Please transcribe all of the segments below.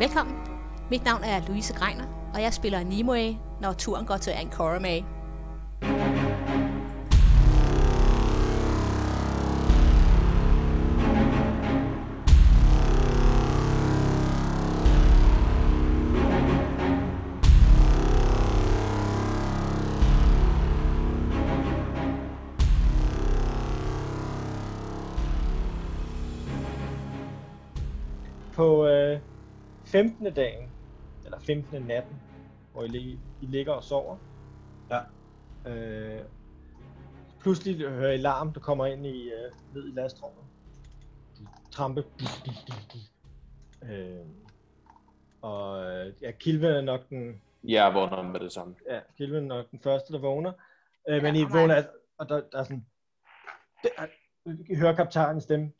Velkommen. Mit navn er Louise Greiner, og jeg spiller Nimue, når turen går til Ankorame. På øh, 15. dagen, eller 15. natten, hvor I, lig, I ligger og sover. Ja. Øh, pludselig hører I larm, der kommer ind i, øh, ned i lastrummet. Trampe. Øh, og øh, ja, Kilve er nok den, Jeg vågner med det samme. ja, Kilve er nok den første, der vågner. Øh, men Ja, I og mig. vågner, og der, der er sådan... Der, I hører kaptajnens stemme.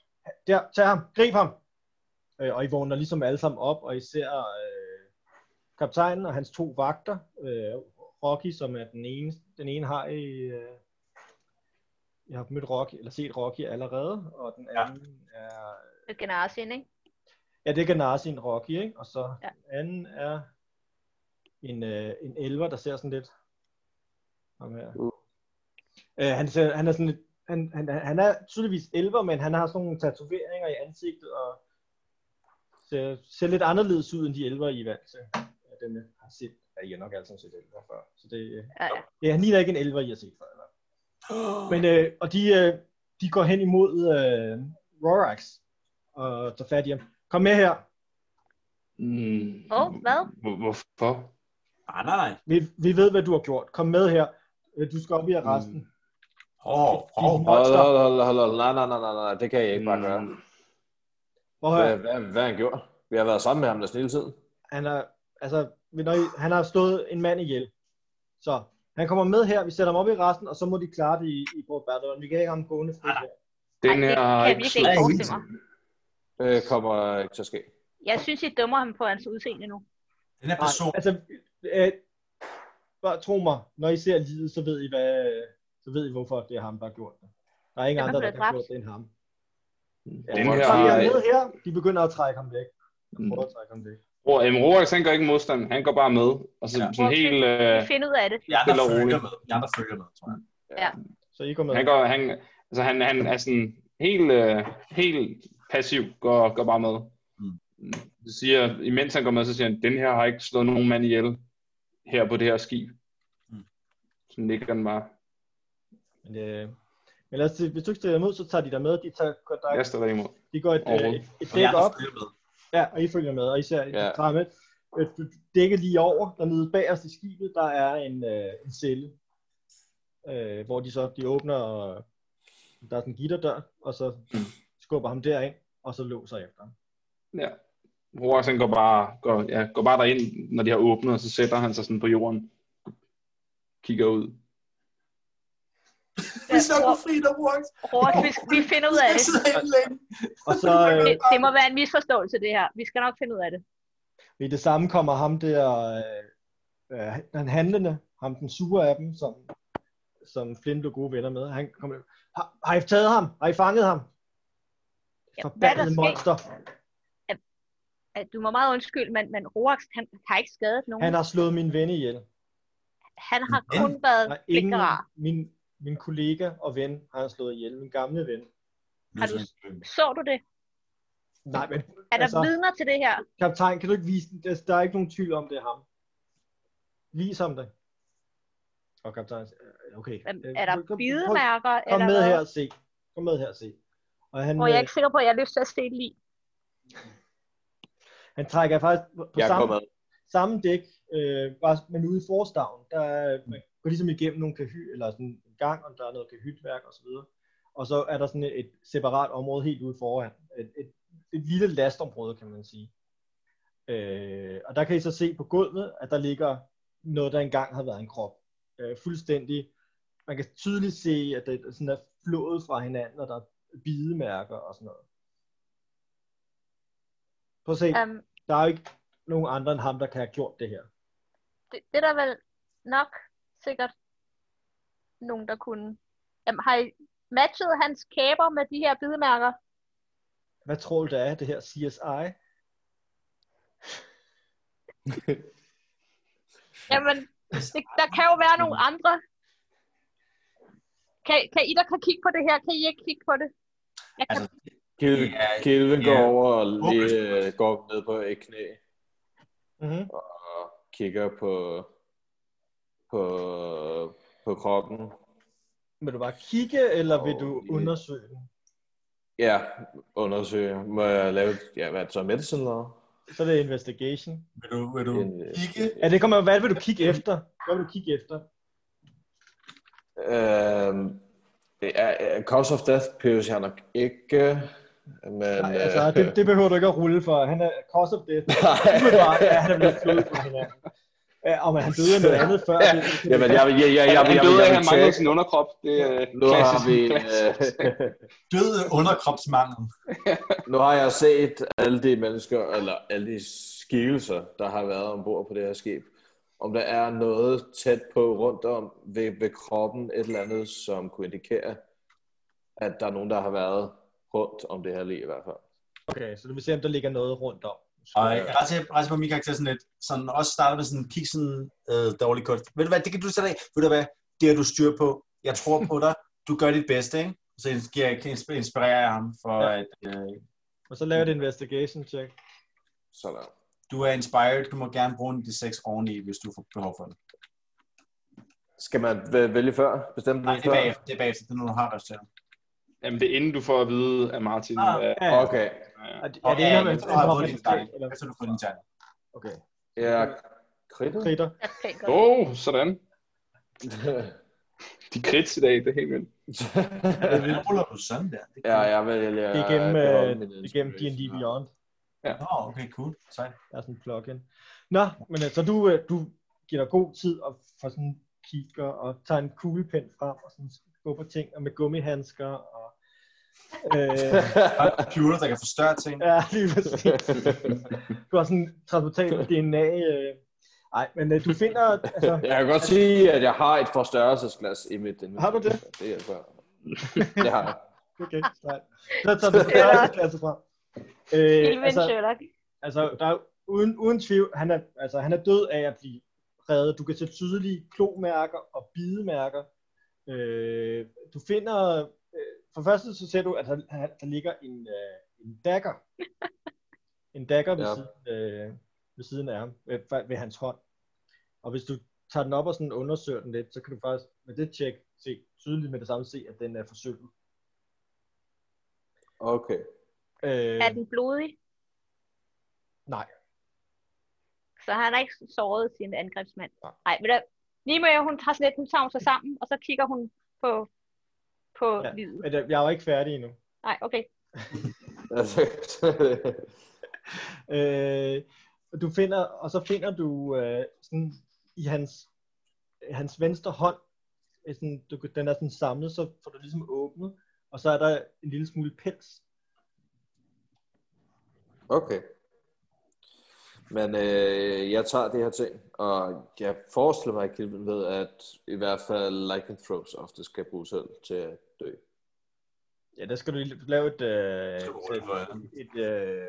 Der, tag ham, grib ham! Øh, og I vågner ligesom alle sammen op, og I ser øh, kaptajnen og hans to vagter. Øh, Rocky, som er den ene, den ene har I... Øh, jeg har mødt Rocky, eller set Rocky allerede, og den Ja. anden ja. er... Det generation, ikke? Ja, det er Ganassi, en Rocky, ikke? Og så ja. Ja. anden er en, øh, en elver, der ser sådan lidt... Ham her. Uh. Øh, han, ser, han er sådan lidt... Han, han, han er tydeligvis elver, men han har sådan nogle tatoveringer i ansigtet, og ser, ser lidt anderledes ud, end de elver, I er vant til. Ja, den har set... Ja, I har nok alle sammen set elver før. Så det, øh, Ja, ja. det, han ligner ikke en elver, I har set før. Eller? Men, øh, og de, øh, de går hen imod øh, Rorax og tager fat i ham. Kom med her. Mm. Åh, hvad? Hvor- Hvorfor? Ah, Nej, nej. Vi, vi ved, hvad du har gjort. Kom med her. Øh, Du skal op i arresten. Mm. Åh, åh. Din Hold, monster. hold, hold, hold, hold. Nej, nej, nej, nej, nej, det kan jeg ikke bare gøre. Prøv at Hvad, høre. hvad, hvad har han gjort? Vi har været sammen med ham næsten hele tiden. Han, er, altså, når I, han har slået en mand ihjel. Så han kommer med her. Vi sætter ham op i arresten, og så må de klare det i, i Port Battle. Vi kan ikke have ham gående frit her. Ej, det kan jeg virkelig ikke forestille mig. Det Øh, kommer ikke til at ske. Jeg synes, I dømmer ham på hans udseende nu. Den her Nej, person, altså, øh, bare tro mig. Når I ser livet, så ved I, hvad, så ved I hvorfor det er ham, der har gjort det. Der er ingen Han er andre, der blevet har dræbt. gjort det end ham. Ja, Den Så vi er her, øh, med her. De begynder at trække ham væk. De Mm. prøver at trække ham væk. Ror, jamen, Rorax, han gør ikke modstand, han går bare med. Og så, Ja. ja. sådan helt, Vi øh, finder ud af det. jeg der stille og følger roligt. med. Jeg der følger med, tror jeg. Så I går med. han, går, han, altså, han, han er sådan helt, øh, helt passiv, går, går bare med. Mm. Så siger, imens han går med, så siger han, den her har ikke slået nogen mand ihjel her på det her skib. Mm. Så ligger den bare. Men, øh, men lad os, se, hvis du ikke stiller dem ud, så tager de dig med. De, tager, der, Jeg står der imod. de går et, øh, Overhovedet. et, et Så dæk jeg der op, følger med. ja, og I følger med, og I ser, ja. Ja. tager med. Øh, du- Dækket lige over, dernede bagerst i skibet, der er en, øh, en celle, øh, hvor de så de åbner, og der er sådan en gitterdør, og så Mm. skubber ham derind, og så låser efter ham. Ja. Rorax, han går bare, går, ja, går bare derind, når de har åbnet, og så sætter han sig sådan på jorden. Kigger ud. Vi snakker fri, der brugt. Robert, vi, vi finder ud af Jeg det. sidder helt længe. Og så øh, det. Det må være en misforståelse, det her. Vi skal nok finde ud af det. ved det samme kommer ham der, øh, øh, den handlende, ham den sure af dem, som, som Flint blev gode venner med. Han kommer, har, har I taget ham? Har I fanget ham? Ja, hvad er Forbandet der monster. Øh, Du må meget undskylde, men, men Roax, han har ikke skadet nogen. Han har slået min ven ihjel. Han har kun været Der er ingen, blikkerar. min, min kollega og ven har han slået ihjel. Min gamle ven. Har du- Så du det? Nej, men Er der Altså- vidner til det her? kaptajn, kan du ikke vise den? Der, der er ikke nogen tvivl om, det er ham. Vis ham det. Og kaptajn siger, "Øh, okay. Hvem- Øh, Er der kom- kom- bidemærker? Kom eller med hvad? her og se. Kom med her og se. Og han, Hvor jeg er øh, ikke sikker på, at jeg har lyst til at se det lige. han trækker faktisk på på Jeg går samme, med. samme dæk, øh, bare, men ude i forstaven, der er- man går ligesom igennem nogle kahy, eller sådan en gang, om der er noget kahytværk og så videre. Og så er der sådan et, et separat område helt ude foran. Et, et, et lille lastområde, kan man sige. Øh, og der kan I så se på gulvet, at der ligger noget, der engang har været en krop. Øh, fuldstændig. Man kan tydeligt se, at det sådan er flået fra hinanden, og der er bidemærker og sådan noget. Prøv at se. Um, Der er jo ikke nogen andre end ham, der kan have gjort det her. det, det er der vel nok sikkert nogen, der kunne. Jamen, har I matchet hans kæber med de her bidemærker? Hvad tror du, der er det her CSI? Jamen, det, der kan jo være nogle andre. Kan, kan I, der kan kigge på det her, kan I ikke kigge på det? Jeg kan, Altså, Kelvin, Ja, Kelvin ja. går over og lige, Fokus. øh, går ned på et knæ Mm-hmm. og kigger på, på, på kroppen. Vil du bare kigge, eller vil du Åh, ja. undersøge den? Ja, undersøge. Må jeg lave, ja, hvad er det så, medicine eller? hvad? Så er det investigation. vil du, vil du En, øh, kigge? Ja, det kommer jo, hvad vil du kigge efter? Hvad vil du kigge efter? Øhm, det er, uh, cause of death behøver jeg nok ikke, men... Nej, altså, øh, det, det behøver du ikke at rulle for. Han er cause of death. Nej. Umiddelbart er han blevet flået fra hinanden. Ja, og man, han døde af noget andet før. Ja. det- det- det- Jamen, jeg, vil- jeg, jeg, jeg, Ja, jeg, han jeg, døde af, jeg, jeg, at han vil manglede tjekke- sin underkrop. Det er øh, nu har klassisk. vi en, klassisk. øh, Død underkropsmangel. nu har jeg set alle de mennesker, eller alle de skikkelser, der har været ombord på det her skib. Om der er noget tæt på rundt om ved, ved kroppen, et eller andet, som kunne indikere, at der er nogen, der har været rundt om det her liv i hvert fald. Okay, så du vil se, om der ligger noget rundt om. Og jeg kan rejse, rejse på min karakter sådan lidt, sådan også starte med sådan, kig sådan øh, dårlig kunst. Ved du hvad, det kan du sætte af. Ved du hvad, det har du styr på. Jeg tror på dig. Du gør dit bedste, ikke? Så giver jeg, insp- inspirerer jeg ham for, Ja. ja. at øh, Og så laver det investigation check. Sådan. du er inspired. Du må gerne bruge en de seks oveni, hvis du får behov for det. Skal man væ- vælge før? Bestemme Nej, den det er før? bagefter. Det er bagefter. Det er nu, du har resultatet. Jamen, det er inden du får at vide af Martin. Ah, Ah, Ja, okay. Okay, Er det, Og er det ikke, om man efter du har fået din tegn. eller- Efter du har fået din tegn. Okay. jeg kritter. Kritter. jeg kan godt. Åh, oh, sådan. De krits i dag, det er helt vildt. Hvad Øh, ruller du sådan der? Det er ja, jeg vælger... Det er igennem, jeg beholder øh, min det er igennem D&D inspiration. Beyond. cool. Nå, okay, cool. Sejt. Der er sådan en plugin. Nå, men øh, så du, øh, du giver dig god tid og får sådan kigger og tager en kuglepen frem og sådan skubber ting og med gummihandsker og... Øh, Der er en computer, der kan forstørre ting. ja, lige præcis. Du har sådan transportabel DNA. Øh. Ej, men øh, du finder... Altså, Jeg kan godt sige, at jeg har et forstørrelsesglas i mit inventar. Har du det? Det hjælper. Det har jeg. okay, nej. Så tager du størrelsesklasse frem. Øh, Kelvin Sherlock. Altså, der er uden, uden tvivl, han er, altså, han er død af at blive reddet. Du kan se tydelige klomærker og bidemærker. Øh, du finder, øh, for det første så ser du, at der, han- der ligger en, øh, en dagger. En dagger ved, Ja. ja. siden, øh, ved siden af ham, øh, fa- ved hans hånd. Og hvis du tager den op og sådan undersøger den lidt, så kan du faktisk med det tjek se tydeligt med det samme se, at den er forsølvet. Okay. Øh, Er den blodig? Nej. Så han har ikke såret sin angrebsmand. Nej, men der, Nima, hun har sådan lidt, hun tager sig sammen, og så kigger hun på, på Ja. ja. livet. men jeg jeg er jo ikke færdig endnu. Nej, okay. Altså, Øh, og du finder, og så finder du øh, sådan i hans, hans venstre hånd, øh, sådan, du, kan- den er sådan samlet, så får du ligesom åbnet, og så er der en lille smule pels. okay. Men øh, jeg tager det her ting, og jeg forestiller mig, at Kilvin ved, at i hvert fald lycanthropes ofte skal bruge selv til at dø. Ja, der skal du lige lave et, øh, Skal du rulle, et, et øh,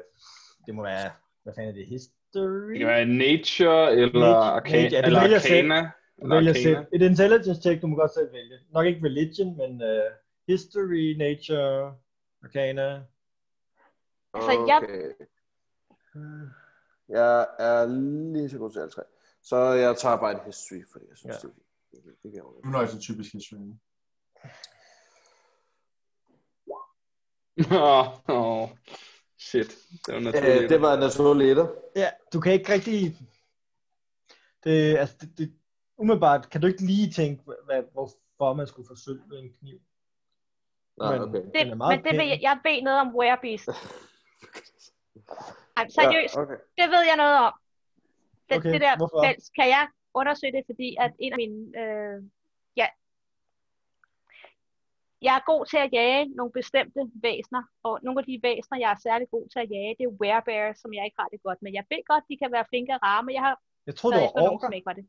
det må være, hvad fanden er det, history? Det kan være nature eller Nature, arcana. ja, det eller vælger selv. arcana. Du Eller vælger selv. arcana. Et intelligence check, du må godt selv vælge. Nok ikke religion, men øh, history, nature, arcana. Altså, jeg- Øh, Jeg er lige så god til alle tre. Så jeg tager bare et history, fordi jeg synes, Ja. ja. det, det, det, kan jeg jo Nu er det så typisk historie. Åh, oh, shit. Det var naturligt. Øh, det var en naturlig etter. Ja, du kan ikke rigtig... Det, altså, det, det, umiddelbart kan du ikke lige tænke, hvad, hvorfor man skulle forsølve en kniv. Nej, Men- okay. Det, Den er meget men det vil pæn. jeg, jeg ved noget om werebeast. Ej, seriøst, Ja, okay. det ved jeg noget om. Okay, Det, okay, det der hvorfor? fælles, kan jeg undersøge det, fordi at en af mine... Øh, ja, jeg er god til at jage nogle bestemte væsener, og nogle af de væsener, jeg er særlig god til at jage, det er werebears, som jeg ikke har det godt med. Jeg ved godt, de kan være flinke at ramme, jeg har Jeg tror, det været var efter nogen, orker. som ikke var det.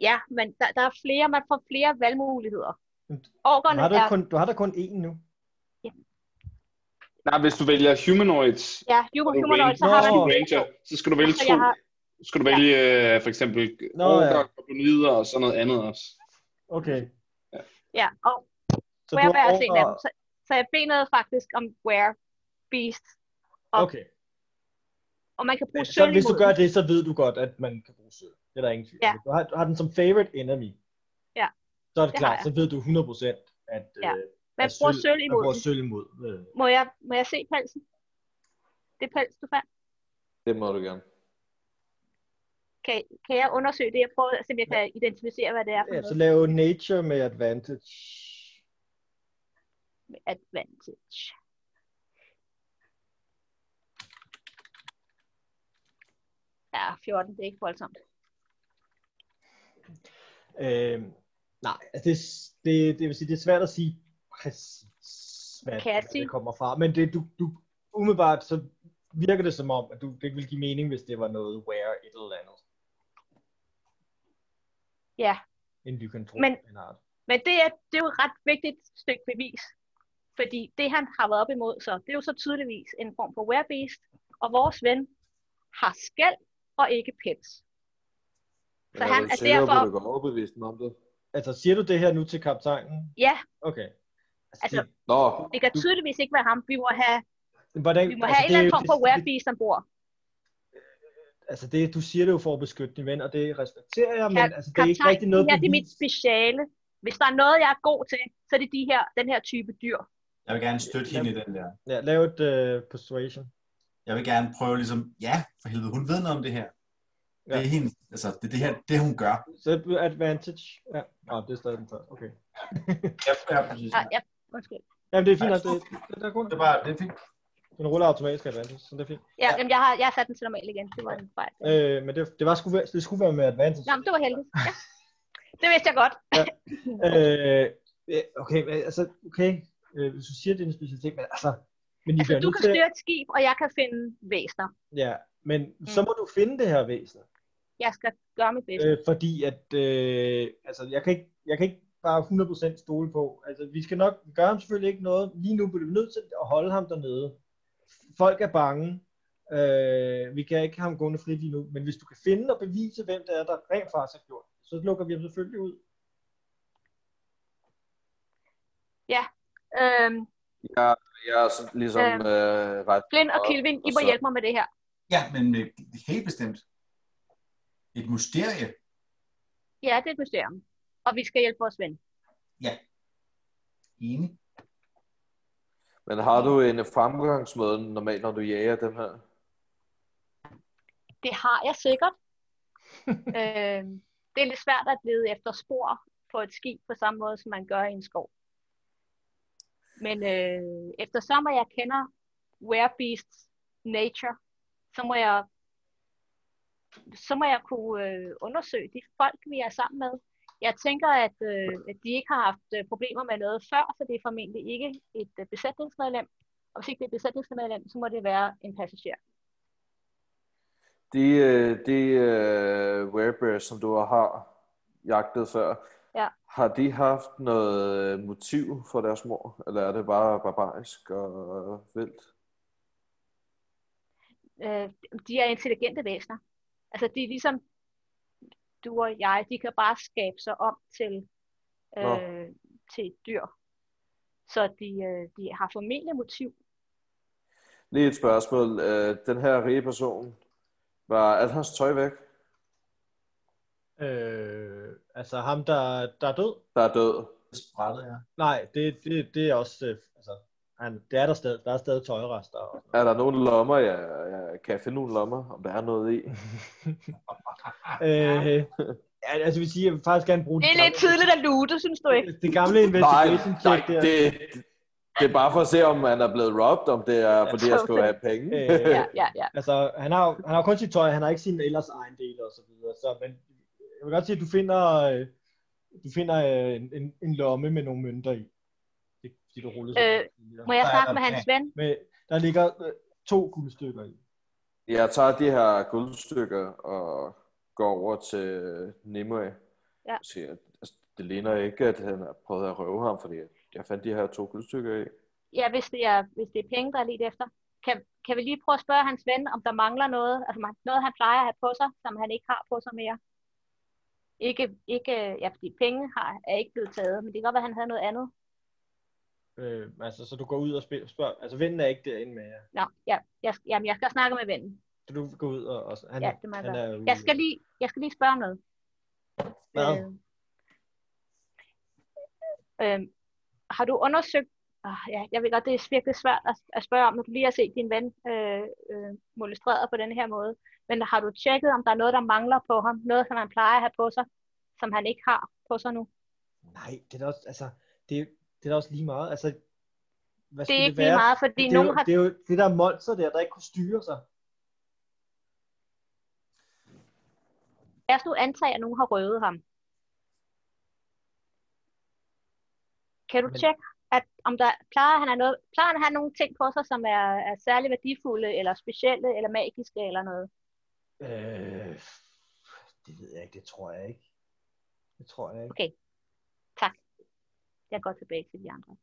Ja, men der, der er flere, man får flere valgmuligheder. Men Du Orkerne har, er der kun, du har der kun én nu. Nej, hvis du vælger humanoids, Ja, human, og humanoid, så Nå. har man ranger, så skal du vælge Så to. jeg har- skal du vælge øh, for eksempel Nå, Nå, ja. ja. goblinider og sådan noget andet også. Okay. Ja, og Så Were var også orker- en af dem. Så, så jeg benede faktisk om Were Beast. og- Okay. Og man kan bruge Så sølv hvis du imod gør den. det, så ved du godt, at man kan bruge sølv. Det er der ingen tvivl. Ja. om. Du, har, du har den som favorite enemy. Ja. Så er det, Det klart, har jeg. så ved du 100% at Ja. øh, Man at bruger sølv man imod bruger den. sølv imod. øh. Må jeg, må jeg se pelsen? Det pels, du fandt. Det må du gerne. Kan, kan jeg undersøge det? Jeg prøver at se, om jeg kan identificere, hvad det er for Ja, så noget lave nature med advantage. med advantage. Ja, 14, det er ikke voldsomt. Øh, nej, altså det, det, det vil sige, det er svært at sige præcis, hvad, Kan jeg hvad sige? det kommer fra. Men det, du, du, umiddelbart så virker det som om, at du, det ville give mening, hvis det var noget where et eller andet. Ja. En lykontrol. Men- en art. Men det er, det er jo et ret vigtigt stykke bevis. Fordi det, han har været op imod, så det er jo så tydeligvis en form for werebeast. Og vores ven har skæld og ikke pels. Så Jeg han vel er sikker på, derfor- at du går overbevist om det. Altså, siger du det her nu til kaptajnen? Ja, Okay. Altså, det, Nå, det kan tydeligvis ikke være ham. Vi må have, hvordan, vi må have en eller altså, det er anden jo- form for det- werebeast ombord. Altså, det, du siger det jo for at beskytte din ven, og det respekterer jeg, men Kap- altså, det er ikke Kaptajn, rigtig noget det her det er mit bevis. speciale. Hvis der er noget, jeg er god til, så er det de her, den her type dyr. Jeg vil gerne støtte hende i den der. Ja, lav et uh, persuasion. Jeg vil gerne prøve ligesom, ja, for helvede, hun ved noget om det her. Ja. Det Ja. er hende, altså, det er det her, det hun gør. Så med advantage. Ja. Nå, det er stadig den første. Okay. Ja, ja, præcis. Ja, ja, undskyld. Jamen, det er fint. nok. Det, det, der er kun, Det er bare, det er fint. den ruller automatisk advantage, så det er fint. Ja, jamen, jeg, har, jeg har sat den til normal igen. Det var en fejl. Øh, men det, det, var sgu, det skulle være med advantage. Nå, men det var heldigt. Ja. Det vidste jeg godt. Øh, øh, okay, men altså, okay. Øh, hvis du siger, det er en specialitet, men altså... Men I Altså, bliver du nødt kan til... styre et skib, og jeg kan finde væsner. Ja, men mm. så må du finde det her væsen. Jeg skal gøre mit bedste. Øh, fordi at... Øh, altså, jeg kan ikke, jeg kan ikke bare 100% stole på. Altså, vi skal nok gøre ham selvfølgelig ikke noget. Lige nu bliver vi nødt til at holde ham dernede. Folk er bange. Øh, vi kan ikke have ham gående frit lige nu. Men hvis du kan finde og bevise, hvem det er, der rent faktisk har gjort det, så lukker vi ham selvfølgelig ud. Øhm, jeg, jeg er sådan ligesom Øhm. øh, ret... Glenn og Og- Kelvin, I og må så- hjælpe mig med det her. Ja, men øh, det er helt bestemt. Et mysterie. Ja, det er et mysterium. Og vi skal hjælpe vores ven. Enig. Men har du en fremgangsmåde normalt, når du jager dem her? Det har jeg sikkert. øhm, det er lidt svært at lede efter spor på et skib på samme måde, som man gør i en skov. Men øh, eftersom at jeg kender Werebeasts nature, så må jeg så må jeg kunne øh, undersøge de folk, vi er sammen med. Jeg tænker, at, øh, at de ikke har haft øh, problemer med noget før, så det er formentlig ikke et øh, besætningsmedlem. Og hvis ikke det er et besætningsmedlem, så må det være en passager. De, øh, de uh, werebears, som du har jagtet før, Ja. har de haft noget motiv for deres mor? Eller er det bare barbarisk og vildt? øh, de er intelligente væsener. Altså de er ligesom du og jeg, de kan bare skabe sig om til, Nå. øh, til et dyr. Så de, øh, de har formentlig motiv. Lige et spørgsmål. Øh, den her rige person, var alt hans tøj væk? Øh, altså ham, der, der er død? Der er død. Det sprættede jeg. Nej, det, det, det er også... øh, Altså, han, det er der stadig. Der er stadig tøjrester. Og sådan Er der nogle lommer? Jeg, jeg kan jeg finde nogle lommer, om der er noget i? noget. øh, ja, altså, jeg vil sige, jeg vil faktisk gerne bruge Det er lidt tidligt at lute, synes du ikke? gamle, det gamle investigation nej, check der. det, det er bare for at se, om han er blevet robbed, om det er, fordi jeg skulle have penge. Øh, Ja, ja, ja. Altså, han har, jo- han har jo kun sit tøj, han har ikke sine ellers egen dele og så videre. Så, men jeg vil godt sige, at du finder, øh, du finder øh, en, en, en lomme med nogle mønter i. Det, det du rullede. Øh, Må jeg snakke med hans ven? med, der ligger øh, to guldstykker i. Jeg tager de her guldstykker og går over til Nimue. Ja. Og siger, at altså, det ligner ikke, at han har prøvet at røve ham, fordi jeg fandt de her to guldstykker i. Ja, hvis det er, hvis det er penge, der er lidt efter. kan, kan vi lige prøve at spørge hans ven, om der mangler noget, altså man- noget han plejer at have på sig, som han ikke har på sig mere? Ikke, ikke, ja, fordi penge har, er ikke blevet taget, men det kan godt være, at han havde noget andet. Øh, altså, så du går ud og spil- spørger, altså vennen er ikke derinde med jer. Nå, ja, jeg, jamen, jeg skal snakke med vennen. Så du går ud og, og han, Ja, det må jeg han gøre. er ude. Jeg skal lige, jeg skal lige spørge om noget. Hvad? Øh, øh, har du undersøgt, oh, ja, jeg ved godt, det er virkelig svært at, at spørge om, når du lige har set din ven øh, øh, molestreret på den her måde, men har du tjekket, om der er noget, der mangler på ham? Noget, som han plejer at have på sig, som han ikke har på sig nu? Nej, det er da også, altså, det, det er da også lige meget. Altså, hvad Det skulle er det ikke være? lige meget, fordi det, er nogen jo, har... det er jo det der monster der, der ikke kunne styre sig. Lad os nu antage, at nogen har røvet ham. Kan du Men- tjekke, at om der plejer han, at have noget, plejer han at have nogle ting på sig, som er, er særlig værdifulde, eller specielle, eller magiske, eller noget? Øh, det ved jeg ikke, det tror jeg ikke. Det tror jeg ikke. Jeg går tilbage til de andre.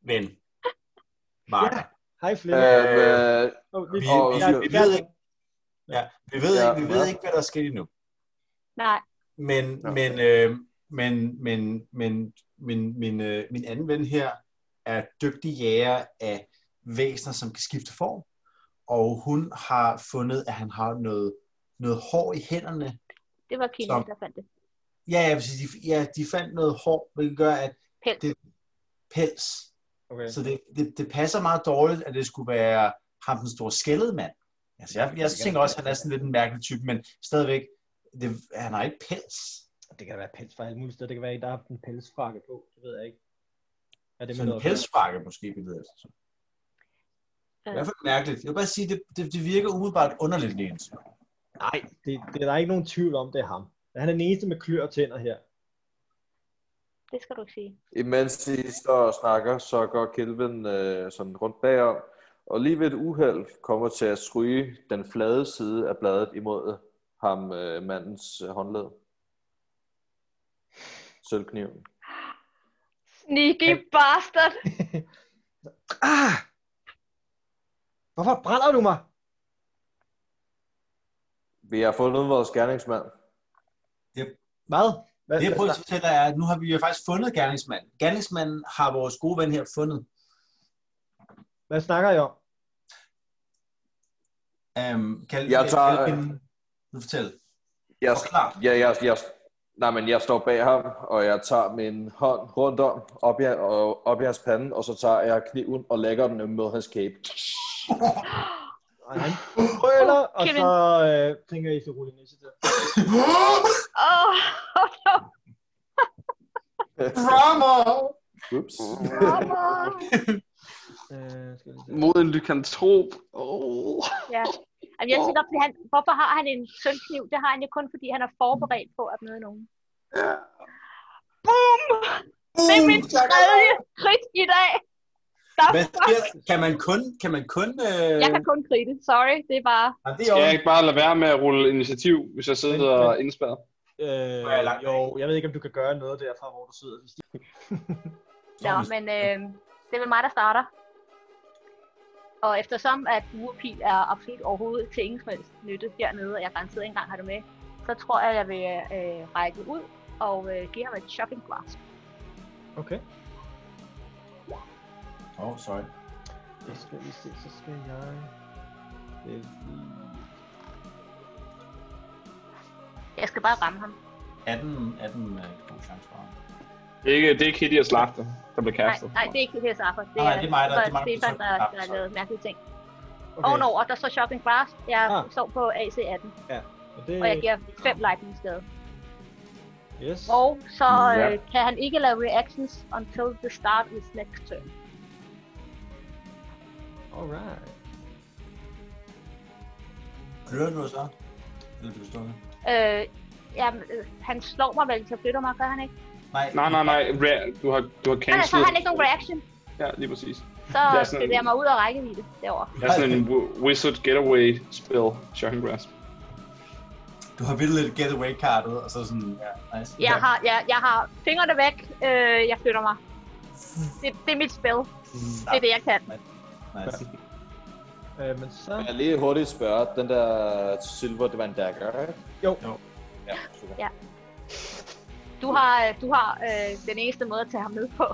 Men, Mark, ja. Hej Flemming. Øhm, øh, Åh, vi, vi- vi, vi- jeg, vi jeg, ved ikke- vi ved, Ja, ikke, vi ved ja. ikke, hvad der er sket endnu. Nej, Men, Nå. men, øh, men, men, men, men, min, øh, min anden ven her er dygtig jæger af væsener, som kan skifte form. Og hun har fundet, at han har noget, noget hår i hænderne. det var Kina, Som- der fandt det. Ja, ja, præcis. de, ja, de fandt noget hår, hvilket gør, at Pels. det pels. okay. Så det, det, det passer meget dårligt, at det skulle være ham, den store skældede mand. Altså, jeg, jeg tænker også, at han er sådan lidt en mærkelig type, men stadigvæk, det, han har ikke pels. Det kan da være pels fra alle mulige steder. Det kan være en, der har haft en pelsfrakke på. Det ved jeg ikke. Er det Så med en noget? pelsfrakke måske, vi leder efter. Det er i hvert fald mærkeligt. Jeg vil bare sige, det, det, det virker umiddelbart underligt, Lens. Nej, det, det, der er ikke nogen tvivl om, det er ham. Han er den eneste med klør og tænder her. Det skal du ikke sige. Imens I står og snakker, så går Kelvin øh, sådan rundt bagom, og lige ved et uheld kommer til at stryge den flade side af bladet imod ham, øh, mandens øh, håndled. Sølvkniven. Sneaky bastard! Ah! Hvorfor brænder du mig? Vi har fundet vores gerningsmand. Hvad? Hvad? Det jeg prøver at fortælle dig er, at nu har vi jo faktisk fundet gerningsmanden. Gerningsmanden har vores gode ven her fundet. Hvad snakker I om? Um, kan, Jeg tager- Kan, nu fortæl. Jeg, Forklar. jeg, jeg, jeg, nej, men jeg står bag ham, og jeg tager min hånd rundt om, op i, og, op i hans pande, og så tager jeg kniven og lægger den mod hans kæbe. Og han brøler, og Kevin. så øh, tænker I, så ruller initiativ. Åh, Drama! Ups. oh, Øh, skal vi se. Mod en lykantrop. Oh. Ja. Jamen, jeg tænker, fordi han, hvorfor har han en sølvkniv? Det har han jo kun, fordi han er forberedt på at møde nogen. Ja. Boom! Det er min tredje krit i dag. Der, Hvad sker? Kan man kun... Kan man kun øh... jeg kan kun kritte, sorry. Det er bare... Jamen, det er Skal jeg også... ikke bare lade være med at rulle initiativ, hvis jeg Men- sidder men- indspærret? Øh, er langt jo, jeg ved ikke, om du kan gøre noget derfra, hvor du sidder. Hvis de... Nå, men øh, det er vel mig, der starter. Og eftersom at buerpil er absolut overhovedet til ingen som helst nytte hernede, og jeg garanteret ikke engang har det med, så tror jeg, jeg vil øh, række ud og øh, give ham et shocking grasp. Okay. Åh, oh, sorry. Det skal vi se, så skal jeg... Det er lige- Jeg skal bare ramme ham. 18, 18 er en god øh, chance for ham. Det er ikke, det er ikke Hitty og Slagter, der bliver Nej, kastet. nej, det er ikke det, jeg sagde. Det Nej, nej, det er mig, der- det er mig, der- Stefan, der, der, Ah, der sorry. lavede mærkelige ting. Okay. Okay. Ovenover, der står shocking grasp. Jeg Ah. ah. står på AC18, Og det... Øh. og jeg giver 5 lightning skade. Yes. Og så Ja. øh, kan han ikke lave reactions until the start is next turn. Alright. Hører du så? Eller bliver du stukket? Øh, jamen, øh, han slår mig vel, så flytter mig, gør han ikke? Nej. Nej, nej, nej. Ra- Du har, du har Nej, nej, så cancelet. har han ikke nogen reaction. Ja, lige præcis. Så Det er sådan- bevæger jeg mig ud af rækkevidde derovre. Det er sådan en wi- wizard getaway spell, Shocking Grasp. Du har vildt lidt getaway-kartet, og så sådan... Ja, nice. Jeg har, jeg, jeg har fingrene væk, øh, jeg flytter mig. Det, det er mit spil. Det er det, jeg kan. Nice. Øh, men så... Jeg lige hurtigt spørge, den der silver, det var en dagger, ikke? Jo. Ja, super. Du har, du har øh, den eneste måde at tage ham med på.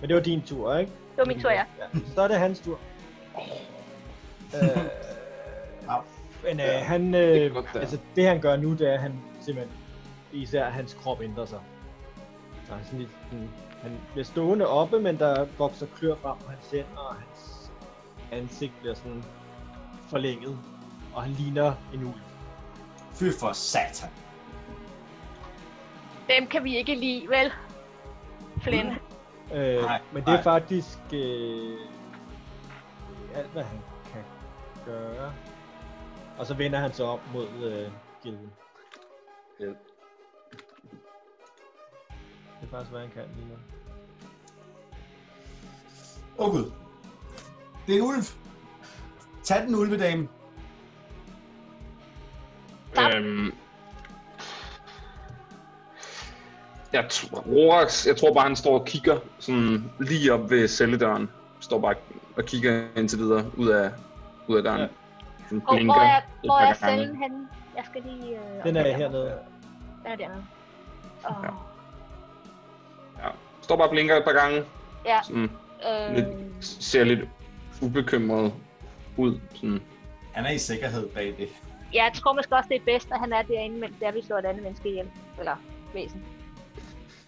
Men det var din tur, ikke? Det var min tur, ja. ja. Så er det hans tur. Øh, Au. men øh, han... Det Øh, er godt, det er. altså, det han gør nu, det er, at han simpelthen... Især hans krop ændrer sig. Så han, sådan lidt, sådan, han bliver stående oppe, men der vokser klør frem på hans hænder, og hans ansigt bliver sådan forlænget. Og han ligner en ulv. Fy for satan. Dem kan vi ikke lide, vel? Flynn. Øh, Nej, men det er nej. faktisk øh, alt, hvad han kan gøre. Og så vender han sig om mod øh, gilden. Hjælp. Det er faktisk, hvad han kan lige nu. Åh oh, gud. Det er en ulv. Tag den ulvedame. Øhm, jeg tror, jeg tror bare, han står og kigger sådan lige op ved celledøren. Står bare og kigger indtil videre ud af, ud af døren. Ja. Ja. Og hvor er, hvor er cellen henne? Jeg skal lige... Øh, Den er opdatere. hernede. Den er dernede. Og, Ja. Står bare og blinker et par gange. ja. Sådan, Øh, lidt, ser lidt ubekymret ud. Sådan. Han er i sikkerhed bag det. jeg tror måske også, det er bedst, at han er derinde, mens der vi slår et andet menneske ihjel. Eller væsen.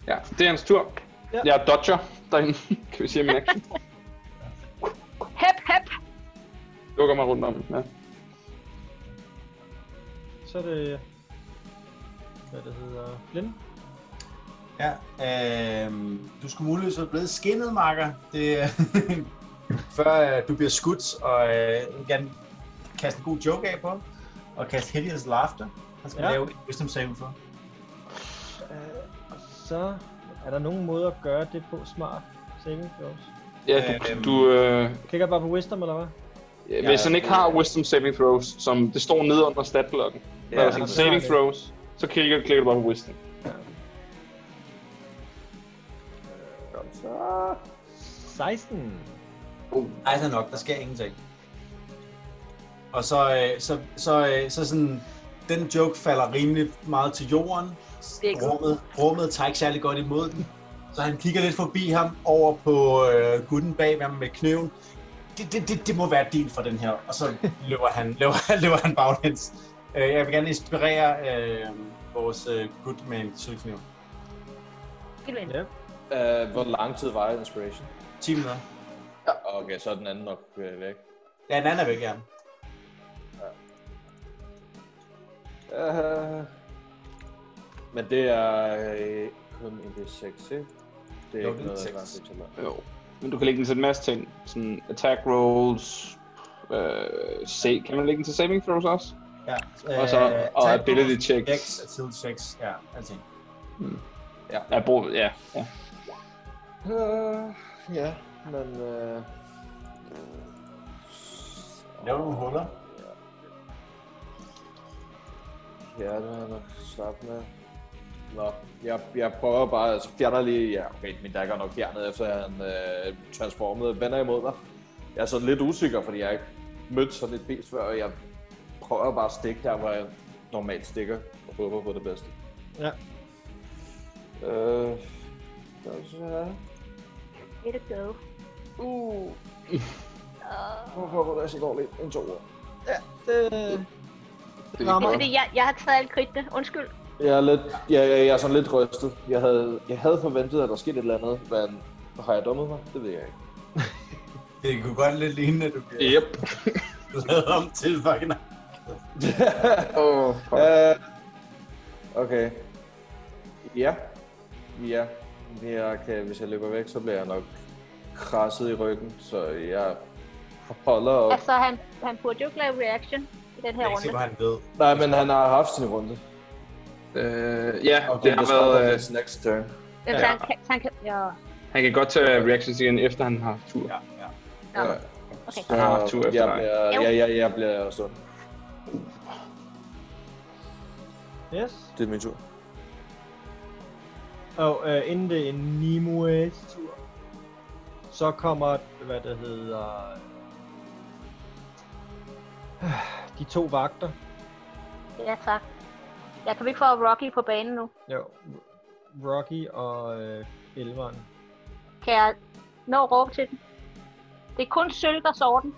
Ja, det er hans tur. Ja. Ja. Jeg er dodger derinde, kan vi sige med action. Hep, hep! Lukker mig rundt om. Ja. Så er det... Hvad det hedder... Flynn. Ja, øh, du skulle muligvis være blevet skinnet, Marker. Det, før øh, du bliver skudt, og øh, jeg vil gerne kaste en god joke af på ham, og kaste Hideous Laughter. Han skal Ja. ja. lave et wisdom saving for. Øh, og så er der nogen måde at gøre det på smart. Saving throws. Ja, Øhm. du, du, øh, Klikker jeg bare på wisdom, eller hvad? Ja, Hvis han ikke har wisdom saving throws, som det står nede under statblokken, ja, der er sådan han har saving det. throws, så klikker, klikker du bare på wisdom. Godt så. 16. Nej, det er nok. Der sker ingenting. Og så, øh, så, så, øh, så sådan, den joke falder rimelig meget til jorden. Det er ikke Rummet, rummet tager ikke særlig godt imod den. Så han kigger lidt forbi ham over på øh, gutten bag ved ham med kniven. Det, det, det, det må være din for den her. Og så løber han, løber, løber han baglæns. Øh, jeg vil gerne inspirere øh, vores øh, gut med en sølvkniv. Helt væsen. Ja. Øh, hvor lang tid var inspiration? 10 minutter. Okay, så er den anden nok øh, væk. Ja, en anden er væk, ja. Uh, men det er øh, kun en D6, ikke? Det er Jo, ikke det er noget, en der er seks. til mig. Jo. Men du kan lægge den til en masse ting, sådan attack rolls, øh, se, kan man lægge den til saving throws også? ja. øh, Og så- og tag- ability checks. Checks, ability checks, ja, alting. Ja, brug, ja, ja. Uh, ja, men... Uh... Laver du nogle huller? Ja, det er nok starte med. Nå, jeg, jeg prøver bare, altså fjerner lige, ja okay, min dagger er nok fjernet, efter han øh, transformede, vender imod mig. Jeg er sådan lidt usikker, fordi jeg har ikke mødt sådan et beast før, og jeg prøver bare at stikke der, hvor jeg normalt stikker, og håber på det bedste. Ja. Øh, der er så her. Let it go. Uh, Uh, hvorfor var det så dårligt? En to år. Det, Det rammer. godt. fordi jeg, jeg har taget alt kridtene. Undskyld. Jeg er, lidt, jeg, jeg, jeg er sådan lidt rystet. Jeg havde, jeg havde forventet, at der skete et eller andet, men har jeg dummet mig? Det ved jeg ikke. Det kunne godt lidt ligne, at du bliver Yep. lavet om til fucking... Oh, Øh, okay. Ja. Ja. Jeg kan, hvis jeg løber væk, så bliver jeg nok krasset i ryggen, så jeg holder op. Altså, han, han burde jo ikke lave reaction i den her Jeg er ikke sikker, runde. hvad han ved. Nej, men han har haft sin runde. øh, ja, Og det har været, øh, hans next turn. Altså, Ja. han kan, han kan, ja. han kan godt tage reactions igen, efter han har haft tur. Ja, ja. Ja. Nå, okay. Så Han har haft tur efter jeg dig. bliver, Jo. jeg, jeg, jeg bliver sådan. yes. Det er min tur. Og øh, inden det er Nimue's tur, Så kommer, hvad det hedder, de to vagter. Ja, tak. Jeg kan vi ikke få Rocky på banen nu. Jo, Rocky og øh, Elveren. Kan jeg nå at råbe til den? Det er kun sølv, der sår den.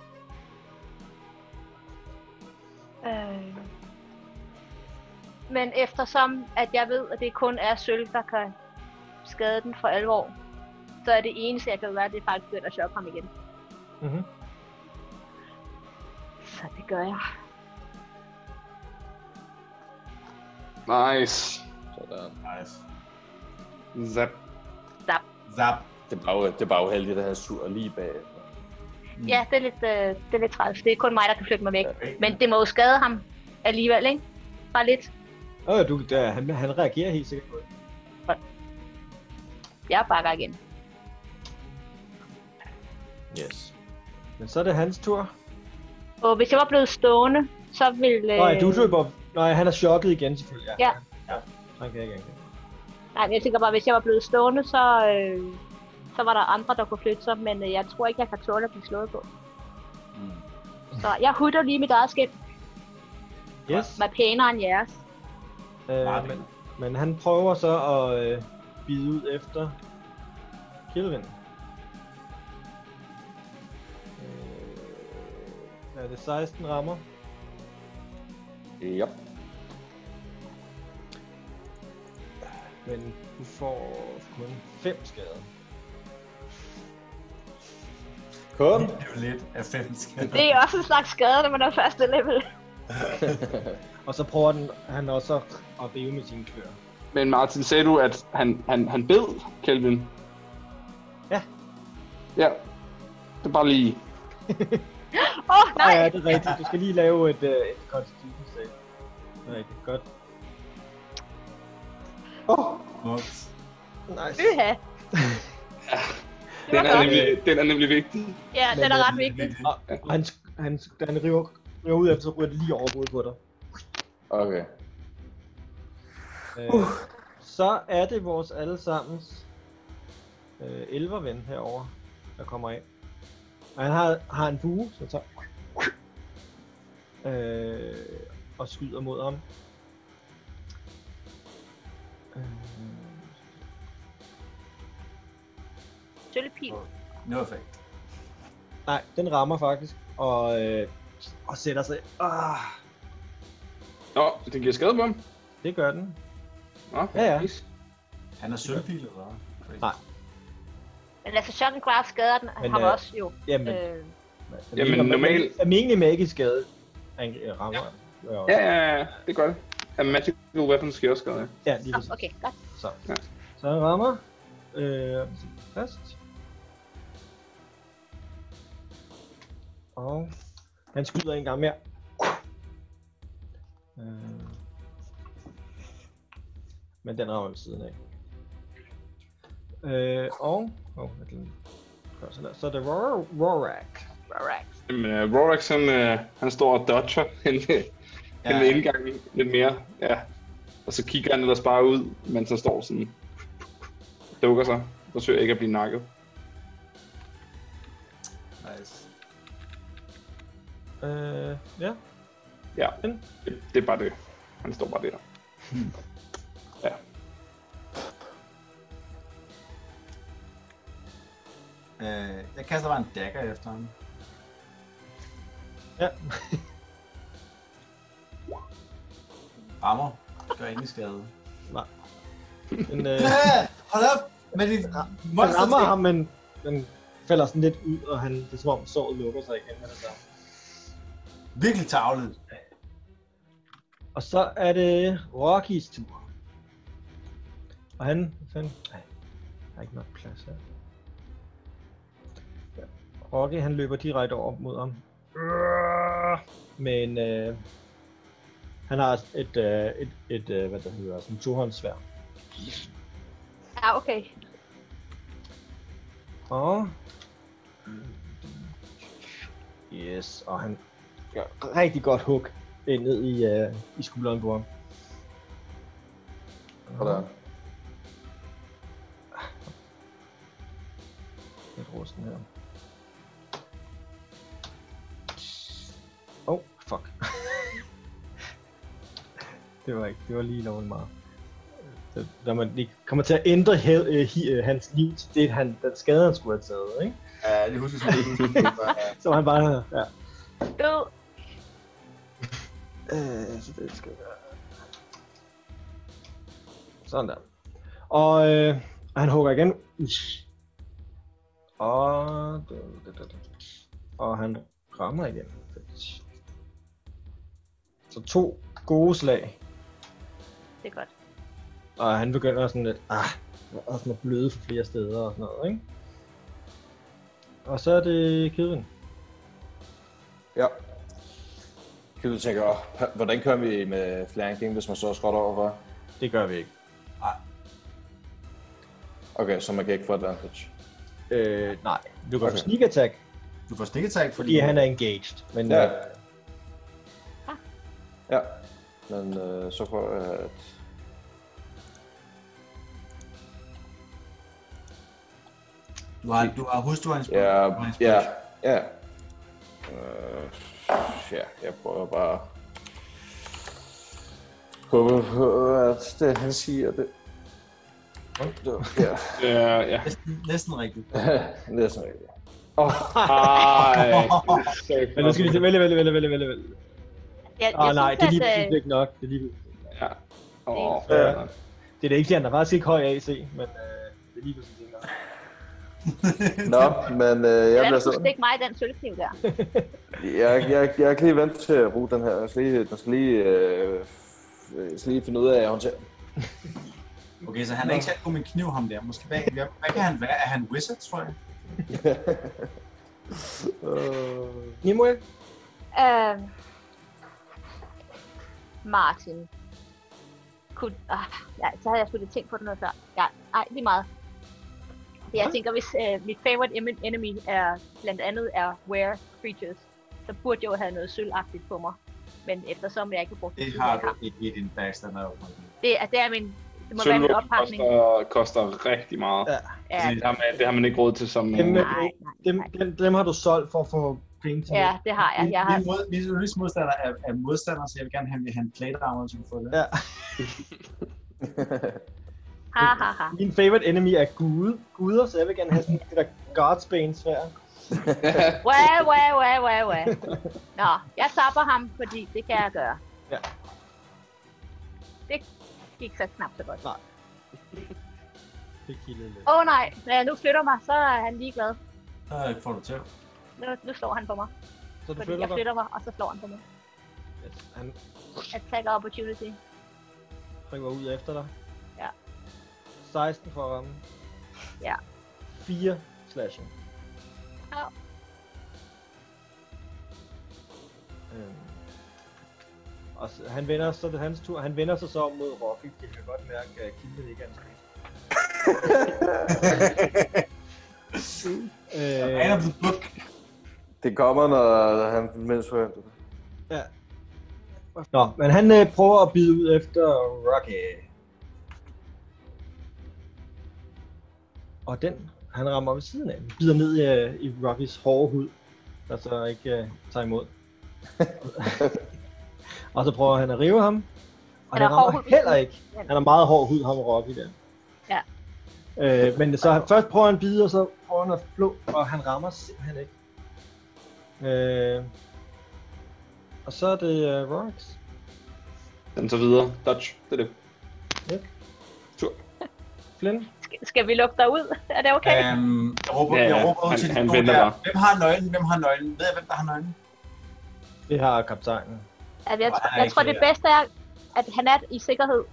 Øh. Men eftersom, at jeg ved, at det kun er sølv, der kan skade den for alvor, så er det eneste, jeg kan gøre, det er faktisk at chokke ham igen. Mm-hmm. Så det gør jeg. Nice. Sådan. Nice. Zap. Zap. Det er bare, det er bare uheldigt, at han sur lige bag. Ja, det er lidt, øh, det er lidt træls. Det er kun mig, der kan flytte mig væk. Men det må jo skade ham alligevel, ikke? Bare lidt. Øh, du, der, han, han reagerer helt sikkert på det. Jeg bakker igen. Yes. Men så er det hans tur. Og hvis jeg var blevet stående, så ville... Nej, du løber... Nej, han er chokket igen selvfølgelig. Øh, Ja. ja. Han kan ikke engang. Nej, men jeg tænker bare, hvis jeg var blevet stående, så, øh, så var der andre, der kunne flytte sig, men øh, jeg tror ikke, jeg kan tåle at blive slået på. Mm. Så jeg hutter lige mit eget skæb, Yes. som er pænere end jeres. Øh, men, men han prøver så at øh, bide ud efter Kilvin. Øh, er det 16 rammer? Yep. Men du får kun 5 skader. Kom. Det er jo lidt af fem skader. Det er også en slags skade, når man er første level. Og så prøver den, han også at, at rive med sine klør. Men Martin, sagde du, at han, han, han bed Kelvin? Ja. Ja. Det er bare lige... Åh, oh, nej! Ja, det er rigtigt. Du skal lige lave et, øh, et constitution save. Det er rigtigt. Godt. Smukt. Nice. Fyha. Den er, godt. nemlig, den er nemlig vigtig. Ja, den er ret vigtig. vigtigt. Og han, han, da han river, river ud af det, så ryger det lige over hovedet på dig. Okay. Øh, så er det vores allesammens øh, elverven herover, der kommer af. Og han har, har en bue, så tager øh, og skyder mod ham. Øh, Sølvpil. No effect. nej, den rammer faktisk, og, øh, og sætter sig. Ah, Nå, den giver skade på ham. det gør den. Nå, Ja, ja. nice. Han er sølvpil, eller hvad? Crazy. Nej. Men altså, Shot and Grab skader den, Men, Men, ham øh, også jo. Jamen, øh, Øh, jamen, normal- Almindelig magisk skade ang- rammer. Ja. Ja, ja, ja, det gør det. Ja, magical weapons giver også skade. ja. ja, lige nå, præcis. okay, godt. Så. Ja. Så han rammer. Øh, fast. Og han skyder en gang mere. Øh. Men den rammer ved siden af. Øh, og... Åh, oh, jeg glemte. Gør sådan der. Så er det Ror- Rorak. Alright. Jamen, uh, Rorax, han, uh, han står og dodger hen, ja. hen ved indgangen lidt mere. Ja. Og så kigger han ellers bare ud, mens han står sådan... Dukker sig. Forsøger ikke at blive nakket. Nice. Øh, ja. Ja, det, det er bare det. Han står bare der. Hmm. Ja. Øh, jeg kaster bare en dagger efter ham. Ja. Rammer. Gør ingen skade. Den, øh, Øh, hold op! Men det den monster rammer ham, men den falder sådan lidt ud, og han, det er som om såret lukker sig igen med det samme. virkelig tavlet. Og så er det Rockies tur. Og han... Hvad fanden? Nej, der er ikke nok plads her. Ja. Rocky, han løber direkte over mod ham. Men øh, han har et, øh, et, et øh, hvad det hedder, sådan tohåndssvær. Ja, okay. Og... Yes, og han gør et rigtig godt hug ind ned i, øh, i skulderen på ham. Sådan. lidt rusten her. Oh, fuck. det var ikke, det var lige lovligt meget. Så, når man lige kommer til at ændre he, øh, hi, øh, hans liv til det, han, den skade, han skulle have taget, ikke? Ja, det husker jeg sgu ikke. Så han bare, ja. Død. Øh, så det skal være... Sådan der. Og øh, han hugger igen. Og, det, det, det, det. og han rammer igen. Så to gode slag. Det er godt. Og han begynder sådan lidt, ah, og sådan at bløde for flere steder og sådan noget, ikke? Og så er det Kedvin. Ja. Kan du tænke, "Åh, hvordan kører vi med flanking, hvis man så er skråt overfor? Det gør vi ikke. Okay, så man kan ikke få advantage. Øh, nej. Du kan okay. Okay. sneak attack, Du får snikketak, fordi... fordi han er engaged. Men Ja. ja. øh, Ja. Men øh, så prøver jeg at... Du har, du har husk, du har en Ja, du har en ja, ja. Øh, ja, jeg prøver bare... Håber på, at det han siger, det... Hold da op, Ja, Ja, Øh, ja. Næsten, næsten rigtigt. næsten rigtigt. Ej. men nu skal vi se, vælge, vælge, vælge, vælge, vælge, vælge. Jeg, Åh oh, nej, det er lige at, præcis øh, ikke nok. Det er, lige... Åh, Ja. fuck. det er da ikke, fordi han er faktisk ikke høj AC, men øh, det er lige præcis ikke nok. Nå, men øh, jeg hvordan bliver skulle sådan... stikke mig i den sølvkniv der? Jeg, jeg, jeg kan lige vente til at bruge den her. Jeg skal lige, jeg skal lige, øh, jeg skal lige finde ud af, at jeg håndterer. den. Okay, så han er ikke særlig god med en kniv, ham der. Måske hvad, hvad, hvad kan han være? Er han wizard, tror jeg? Øh, Nimue? Øhm, Martin. Kun, ah, ja, så havde jeg sgu lidt tænkt på det noget før. Ja, ej, lige meget. Jeg tænker, hvis øh, mit favorite em- enemy er, blandt andet er rare creatures, så burde jeg jo have noget sølvagtigt på mig. Men eftersom jeg ikke har brugt Det siden, har jeg du ikke i din backstander. Det, er, det er min, det må være min Sølvvåben oppakning. koster, koster rigtig meget. Ja. Ja, Det, har man, det har man ikke råd til som... øh, Kæmpe. Nej, nej, nej, Dem, nej. dem, dem har du solgt for at få penge til. Ja, det har jeg. jeg har, Min, mod, min yndlingsmodstander er, er modstander, så jeg vil gerne have, have en plate armor, som får det. Ja. ha, ha, ha. Min favorite enemy er gude, guder, så jeg vil gerne have sådan det der Godsbane svær. Wah, wah, wah, wah, wah. Nå, jeg tapper ham, fordi det kan jeg gøre. Ja. Det gik så knap så godt. Det kildede lidt. Åh oh, nej, når jeg nu flytter mig, så er han ligeglad. Så får du til. Nu, nu slår han på mig, Så du fordi jeg flytter dig? flytter mig, og så slår han på mig. Yes, han Attack og opportunity. rykker ud efter dig. Ja. 16 for at ramme. Ja. 4 slashing. Au. Øhm. Og så, han vender, så er det hans tur. Han vender sig så om mod Rocky. Det kan jeg godt mærke, at Kimben ikke er en Øh. spil. Han er blevet buk. det kommer, når han mens forventer. Nå, men han øh, prøver at bide ud efter Rocky. Og den, han rammer ved siden af, den. bider ned i, øh, i Rockys hårde hud, der så ikke øh, tager imod. og så prøver han at rive ham, og Han er han det hård rammer hud. heller ikke. Han har meget hård hud, ham og Rocky der. Ja. Øh, men så han, først prøver han at bide, og så prøver han at flå, og han rammer simpelthen ikke. Øh, og så er det uh, Rox. Den så videre. Dodge. Det er det. Flynn. Sk- Skal vi lukke dig ud? Er det okay? Ja. Øhm, jeg råber, Ja, jeg ja. råber ud Han- til de han to venter der. bare. Hvem har nøglen? Hvem har nøglen? Ved jeg, hvem der har nøglen? Det har kaptajnen. Jeg, Altså, jeg, Nej, jeg tror, ikke det bedste er, at han er i sikkerhed.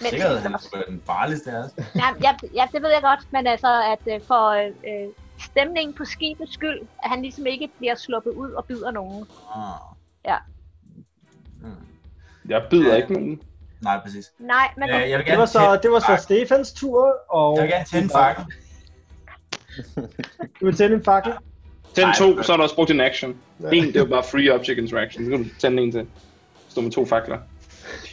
Men- Sikkerhed, han er sgu da den farligste af os. Ja, ja, ja, det ved jeg godt, men altså, at øh, for øh, stemningen på skibets skyld, at han ligesom ikke bliver sluppet ud og bider nogen. Ah. Ja. Mm. Jeg bider Ja. ikke nogen. Nej, præcis. Nej, man Øh, kan... jeg vil Det gerne var så, det var så tænde- Stefans tur, og Jeg vil gerne tænde fakken. du vil tænde en fakkel. Tænd Nej, to, det- så har du også brugt din action. En, det var bare free object interaction. Så kan du tænde en til. Stå med to fakler.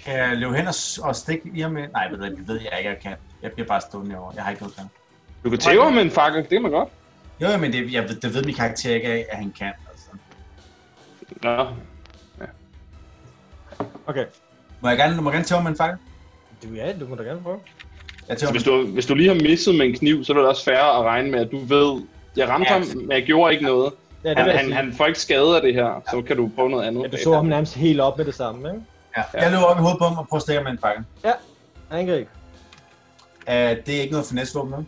Kan jeg løbe hen og, s- og stikke i ham med? Nej, ved du, hvad, det ved jeg ikke, jeg kan. Jeg bliver bare stående herovre. Jeg har ikke noget plan. Du Du kan tæve ham med en fakkel, det kan man godt. Jo, jo, men det, jeg, ved- det ved min karakter ikke, af, at han kan. Altså. Nå, Okay. Må jeg gerne, du må gerne tage med en fakkel? Du, ja, du må da gerne prøve. Jeg så tæver hvis du, hvis du lige har misset med en kniv, så er det også færre at regne med, at du ved, jeg ramte Ja. ham, men jeg gjorde ikke noget. Ja, det Han, vil jeg han, sige. han får ikke skade af det her, så kan du prøve noget andet. ja, du så bagefter. ham nærmest helt op med det samme, ikke? Ja. Jeg løber op i hovedet på ham og prøver at stikke ham med en fakkel. Angreb. Uh, det er ikke noget finessevåben, nu.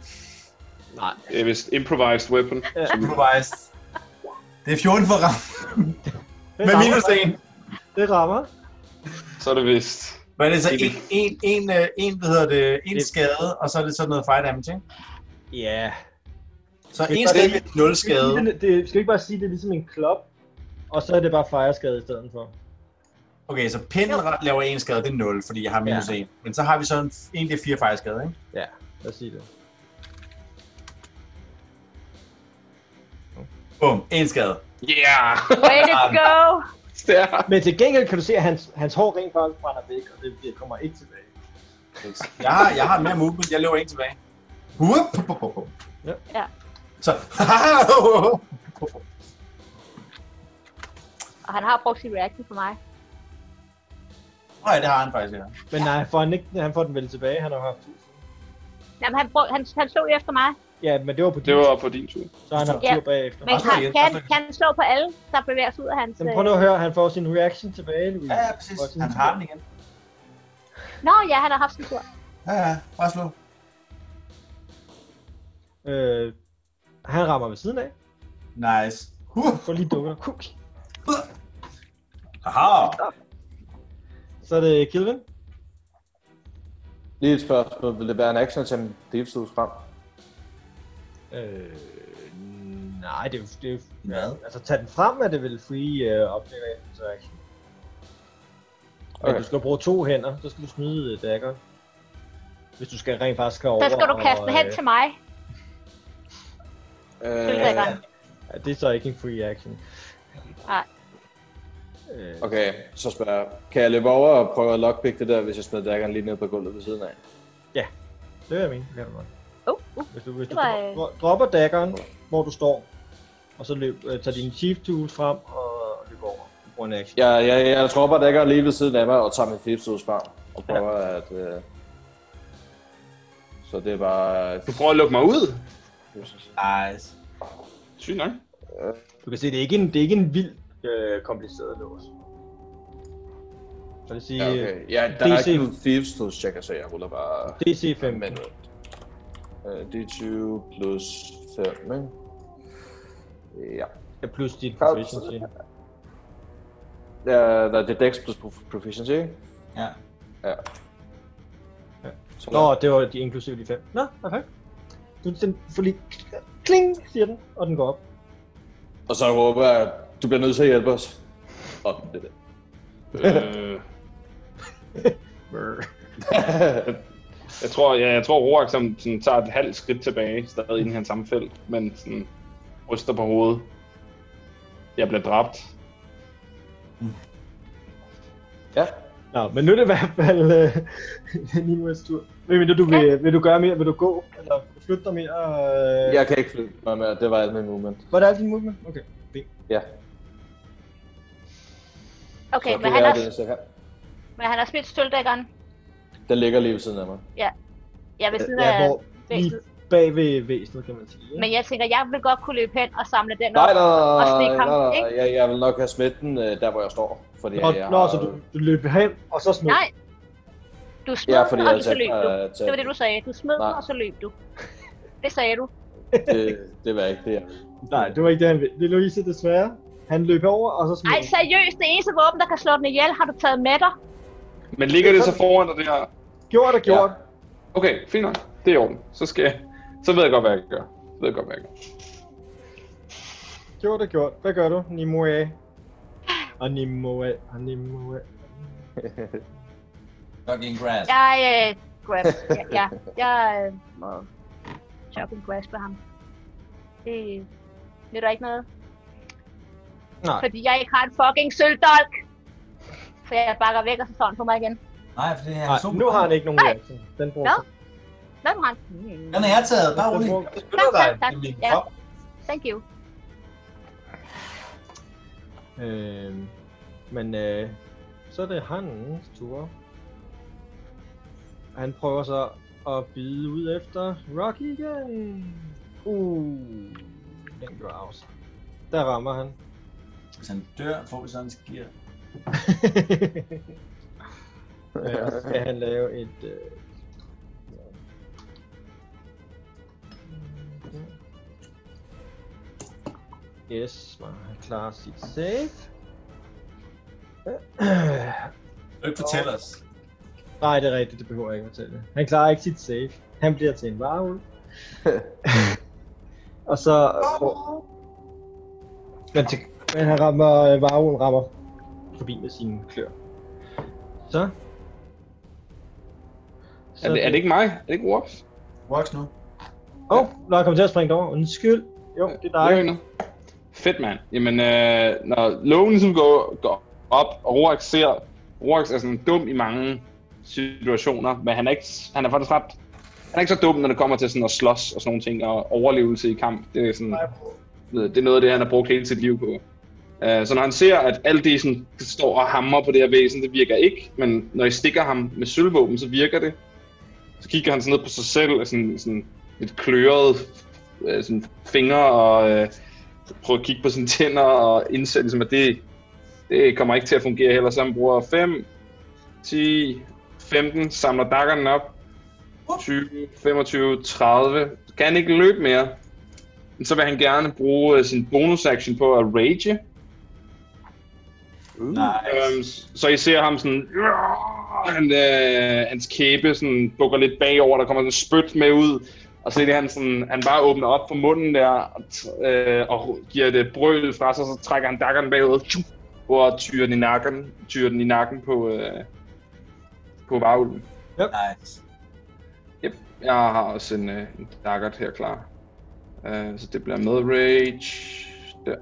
Nej. Det er vist improvised weapon. Ja. Improvised. Det er 14 for at ramme. Det Med rammer. minus 1. Det rammer. Så er det vist. Hvad er det så? En, en, en, øh, en, hvad hedder det, en skade, og så er det sådan noget fire damage, ikke? Ja. Så Det er en bare skade det- ligesom med nul skade. Det, det, skal vi ikke bare sige, det er ligesom en klop, og så er det bare fejreskade i stedet for. Okay, så pinden laver en skade, det er 0, fordi jeg har minus Ja. 1. Men så har vi så en, en det er 4 fire skade, ikke? Ja, lad os sige det. Bum, en skade. Yeah! Way to Ah. go! Stærkt. Men til gengæld kan du se, at hans, hans hår rent faktisk brænder væk, og det, det kommer ikke tilbage. Jeg har, jeg har mere movement, jeg løber en tilbage. Whoop, pop, pop, pop. Ja. Ja. Så, Og han har brugt sin reaction på mig. Åh ja, det har han faktisk, ja. Men nej, får han, ikke, han får den vel tilbage, han har haft tusind. Jamen, han, brug, han, han slog jo efter mig. Ja, men det var på din, Det var på din tur. så han har haft Ja. tur bagefter. Men Og slå kan, igen, kan, og han, slå kan han slå på alle, der bevæger sig ud af hans... Men prøv nu at høre, han får sin reaction tilbage, Louise. Ja, ja, præcis. Får sin- Han har den igen. øh, Nå, ja, han har haft sin tur. Ja, ja, bare slå. Øh, han rammer ved siden af. Nice. Huh. Får lige dukker. Kuk. Aha. Så er det Kilvin. Lige et spørgsmål. Vil det være en action at tage en deltid frem? Øh, nej, det er jo... Det er jo Hvad? altså, tag den frem, er det vel free uh, opdagelse action. Okay. Okay. Men du skal bruge to hænder, så skal du smide uh, dagger. Hvis du skal rent faktisk komme Så over. skal du kaste den hen øh, til mig. Øh, Dagger. ja, det er så ikke en free action. Nej. Øh, okay, så spørger jeg. Kan jeg løbe over og prøve at lockpick det der, hvis jeg smider daggeren lige ned på gulvet ved siden af? Det vil jeg mene, det kan du godt. Oh, uh, Hvis du, hvis du Det var, øh, dro- dropper daggeren, hvor du står, og så løb, øh, tager din chief tools frem og løber over. Du bruger en action. Jeg, jeg, jeg dropper daggeren lige ved siden af mig og tager min flipsus frem og prøver ja. at... Øh... Så det er bare... Du prøver at lukke mig ud. Nice. Sygt nok. Du kan se, det er ikke en, det er ikke en vild øh, kompliceret lås. Så det vil sige, Ja, ja, okay. okay. Ja, der er DC. ikke nogen thieves tools check, så jeg ruller bare DC 5. manuelt. Øh, D20 plus 5, ikke? Ja. Ja, plus dit Kom. proficiency. Ja, der er det dex plus prof- proficiency, ikke? Ja. Ja. Ja. Så Nå, det var de inklusive de 5. Nå, perfekt. Du den får lige kling, siger den, og den går op. Og så råber jeg, du bliver nødt til at hjælpe os. Og det der. Øh, Brr. jeg tror, ja, jeg tror Roak som, sådan, tager et halvt skridt tilbage, stadig inde i hans samme felt, men sådan, ryster på hovedet. Jeg bliver dræbt. Ja. Nå, men nu er det i hvert fald øh, Nimuels tur. Vil, vil, du, vil, vil du gøre mere? Vil du gå? Eller vil du flytte dig mere? Øh, Jeg kan ikke flytte mig mere, det var alt min movement. Var det alt din movement? Okay. Ja, Okay, så men det han, er har, det, jeg kan. men han har smidt støldækkeren. Den ligger lige ved siden af mig. Ja, ved siden Ja, af hvor lige væsenet. bag ved væsenet, kan man sige. ikke? Men jeg tænker, jeg vil godt kunne løbe hen og samle den op. Nej, nej, og stikke nej, ham, nej, ikke? nej. Jeg, jeg vil nok have smidt den øh, der, hvor jeg står. Fordi Nå, jeg nå, så du, du løb hen, og så smed. Nej. Du smed Ja, ja, fordi og jeg du så løb du. tænkte, Det var det, du sagde. Du smed Nej. og så løb du. Det sagde du. det, det var ikke det, jeg ville. Nej, det var ikke det, han ville. Det er Louise desværre. Han løb over, og så smed. Ej, han. seriøst, det eneste våben, der kan slå den ihjel, har du taget med dig. Men ligger det så foran dig der? Gjort og gjort. Okay, fint nok. Det er i orden. Så skal jeg... Så ved jeg godt, hvad jeg gør. Så ved jeg godt, hvad jeg gør. Gjort og gjort. Hvad gør du? Nimue. Og Nimue. Og Nimue. Fucking grass. Jeg øh, grab. Ja, ja, jeg øh, må choppe en grasp af ham. Det nytter ikke noget. Nej. Fordi jeg ikke har en fucking sølvdolk. Så jeg bakker væk, og så står han på mig igen. Nej, for det er Nej, super. nu har han ikke nogen reaction. Den bruger Nå. sig. Nå, du har en. Hmm. Den er jeg taget. Bare rolig. Jeg beskytter Tak, dig. tak, tak. Emily. Ja. Kom. Thank you. Øh, men øh, så er det hans tur. Han prøver så at bide ud efter Rocky igen. Uh, den gør afs. Der rammer han. Hvis han dør, får vi sådan en skier. øh, og så skal han lave et... Øh... Yes, smart. han klarer sit save. Øh, Du ikke fortælle os. Nej, det er rigtigt, det behøver jeg ikke fortælle. Han klarer ikke sit save. Han bliver til en varulv. og så... Men, til, men han rammer, øh, varulven rammer forbi med sine klør. Så. så Er det, er det ikke mig? Er det ikke Warps? Voks nu. Åh, oh, når jeg kom til at springe derover. Undskyld. Jo, det er dig. nu. Fedt, mand. Jamen, øh, når loven ligesom går, går op, og Roax ser... Roax er sådan dum i mange situationer, men han er, ikke, han er faktisk ret... Han er ikke så dum, når det kommer til sådan at slås og sådan nogle ting, og overlevelse i kamp. Det er, sådan, det er noget af det, han har brugt hele sit liv på. Øh, Så når han ser, at alt det, sådan, står og hammer på det her væsen, det virker ikke, men når I stikker ham med sølvvåben, så virker det. Så kigger han sådan ned på sig selv, og sådan, sådan lidt kløret øh, sådan fingre og øh, prøver at kigge på sine tænder og indse, ligesom, at det, det kommer ikke til at fungere heller. Så han bruger 5, 10, 15, samler dakkerne op, 20, 25, 30. Kan han ikke løbe mere? Men så vil han gerne bruge øh, sin bonus-action på at rage. Nej. Øhm, så I ser ham sådan... Han, øh, hans kæbe sådan bukker lidt bagover, der kommer sådan en spyt med ud. Og så er det, han, sådan, han bare åbner op for munden der, og, t- øh, og giver det brøl fra sig, så trækker han dakkeren bagud, tju, og tyrer den i nakken, tyrer den i nakken på, øh, på varulven. Nice. Jeg har også en, øh, en dakkert her klar. Øh, så det bliver med rage. Der.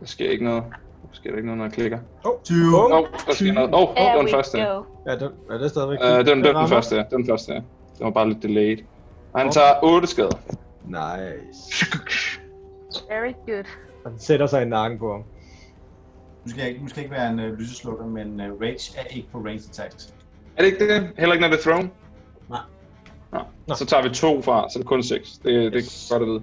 Der sker ikke noget. Der sker der ikke noget, når jeg klikker. 20. Åh, oh, der sker noget. Åh, oh, oh, There det var we den første. go. Ja, den, ja, det er stadigvæk. Uh, den, den, den rammer. første, ja. Den første, ja. Den var bare lidt delayed. Og han Okay. tager 8 skader. Nice. Very good. Og den sætter sig i nakken på ham. Nu skal jeg ikke, nu skal jeg ikke være en øh, lyseslukker, men øh, Rage er ikke på range attacks. Er det ikke det? Heller ikke, når det er thrown? Nej. Nå. Nå. Så tager vi to fra, så er det kun 6. Det, yes. det Yes. er godt at vide.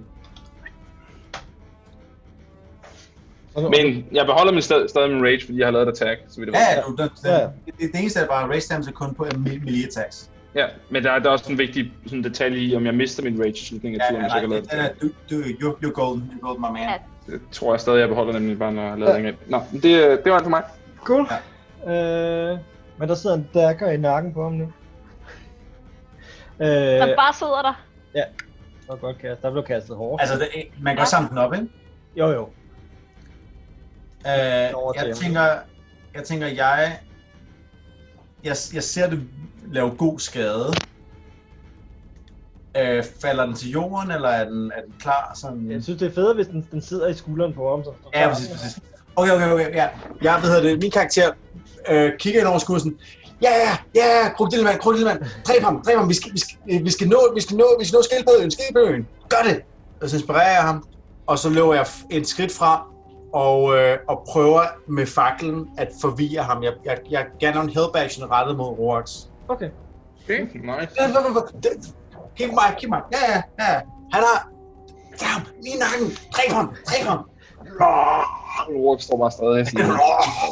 Så nu- Men jeg beholder min sted, stadig min rage, fordi jeg har lavet et attack, så vidt jeg Ja, ved. ja, du, den, Ja, ja. den, det, det eneste er bare, at Rage stammer sig kun på øh, me- melee attacks. ja. men der, er- der er også en vigtig sådan, detalje i, om jeg mister min rage i slutningen af Ja, ja, turen, hvis jeg nej, ikke har lavet det, et attack. det, du, du, you're, you're golden, you're golden, my man. Ja. Det tror jeg stadig, jeg beholder nemlig bare, når jeg har lavet ja. Nå, men det, øh, det var alt for mig. Cool. Ja. Øh, men der sidder en dagger i nakken på ham nu. Den Øh, bare sidder der. det var godt kastet. Der blev kastet hårdt. Altså, det, man kan også samle den op, ikke? Jo, jo. Øh, Over til jeg ham. tænker, jeg tænker, jeg, jeg, jeg ser det lave god skade. Øh, falder den til jorden, eller er den, er den klar? Sådan... Jeg synes, det er fedt, hvis den, den sidder i skulderen på ham. Så Ja, præcis, præcis. Okay, okay, okay, ja. Jeg ved hedder det, min karakter øh, kigger ind over skursen. Ja, ja, ja, ja, krokodillemand, krokodillemand, dræb ham, dræb ham, vi skal, vi skal, øh, vi skal nå, vi skal nå, vi skal nå skildbøgen, skildbøgen, gør det! Og så inspirerer jeg ham, og så løber jeg f- et skridt frem, og, øh, og prøver med faklen at forvirre ham. Jeg, jeg, jeg gav ham en help action rettet mod Roax. Okay. Okay, nice. Øh, hvor- hvor- hvor- det- Giv mig, giv mig, ja, ja, ja. Han har, tag ham, lige i nakken, dræb ham, dræb ham. Rourke står bare stadig sådan,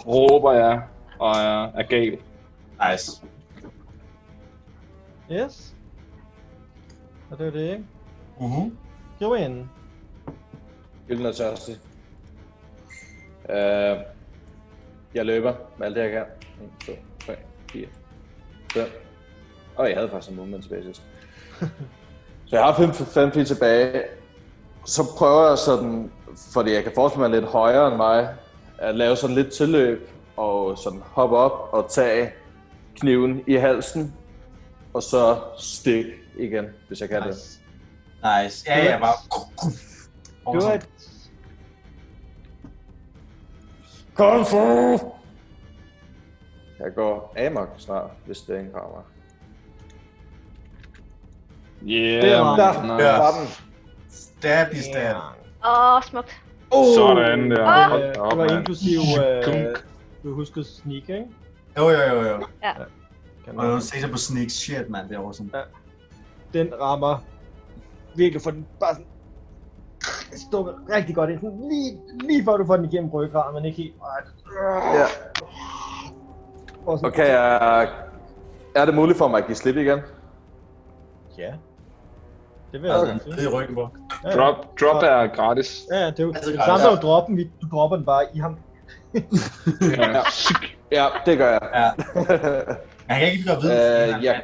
råber jeg, og er, er gal. Nice. Yes. Og det var det, ikke? Uh-huh. Joanne. Gylden er tørstig. Øh, jeg løber med alt det, jeg kan. 1, 2, 3, 4, 5. Og jeg havde faktisk en movement tilbage sidst. så jeg har 5, 5 feet tilbage. Så prøver jeg sådan, fordi jeg kan forestille mig lidt højere end mig, at lave sådan lidt tilløb og sådan hoppe op og tage kniven i halsen. Og så stik igen, hvis jeg kan nice. det. Nice. Nice. Ja, ja, bare... Det var et... Kung Fu! Jeg går amok snart, hvis det ikke rammer. Yeah, Der nice. var den. Stab i stab. Åh, smukt. Oh, Sådan der. Ah. Hold da Øh, det op, var mand. inklusiv, øh, Gunk. du husker sneak, ikke? Jo, jo, jo, jo. Kan Og man- du ser på sneak shit, mand, derovre sådan. Den rammer virkelig for den bare sådan stukket rigtig godt ind. Sådan Lige, lige før du får den igennem ryggraden, men ikke helt. Ej, Ja. og sådan- Okay, øh, er det muligt for mig at give slip igen? Ja. Det vil jeg Okay. okay. Nede i Altså, ryggen på. Ja, Drop, drop er gratis. Ja, det er jo Altså, det gratis. samme som at droppe den, vi- du dropper den bare i ham. Ja. Ja, det gør jeg. Ja. Jeg kan ikke gøre videre. øh, jeg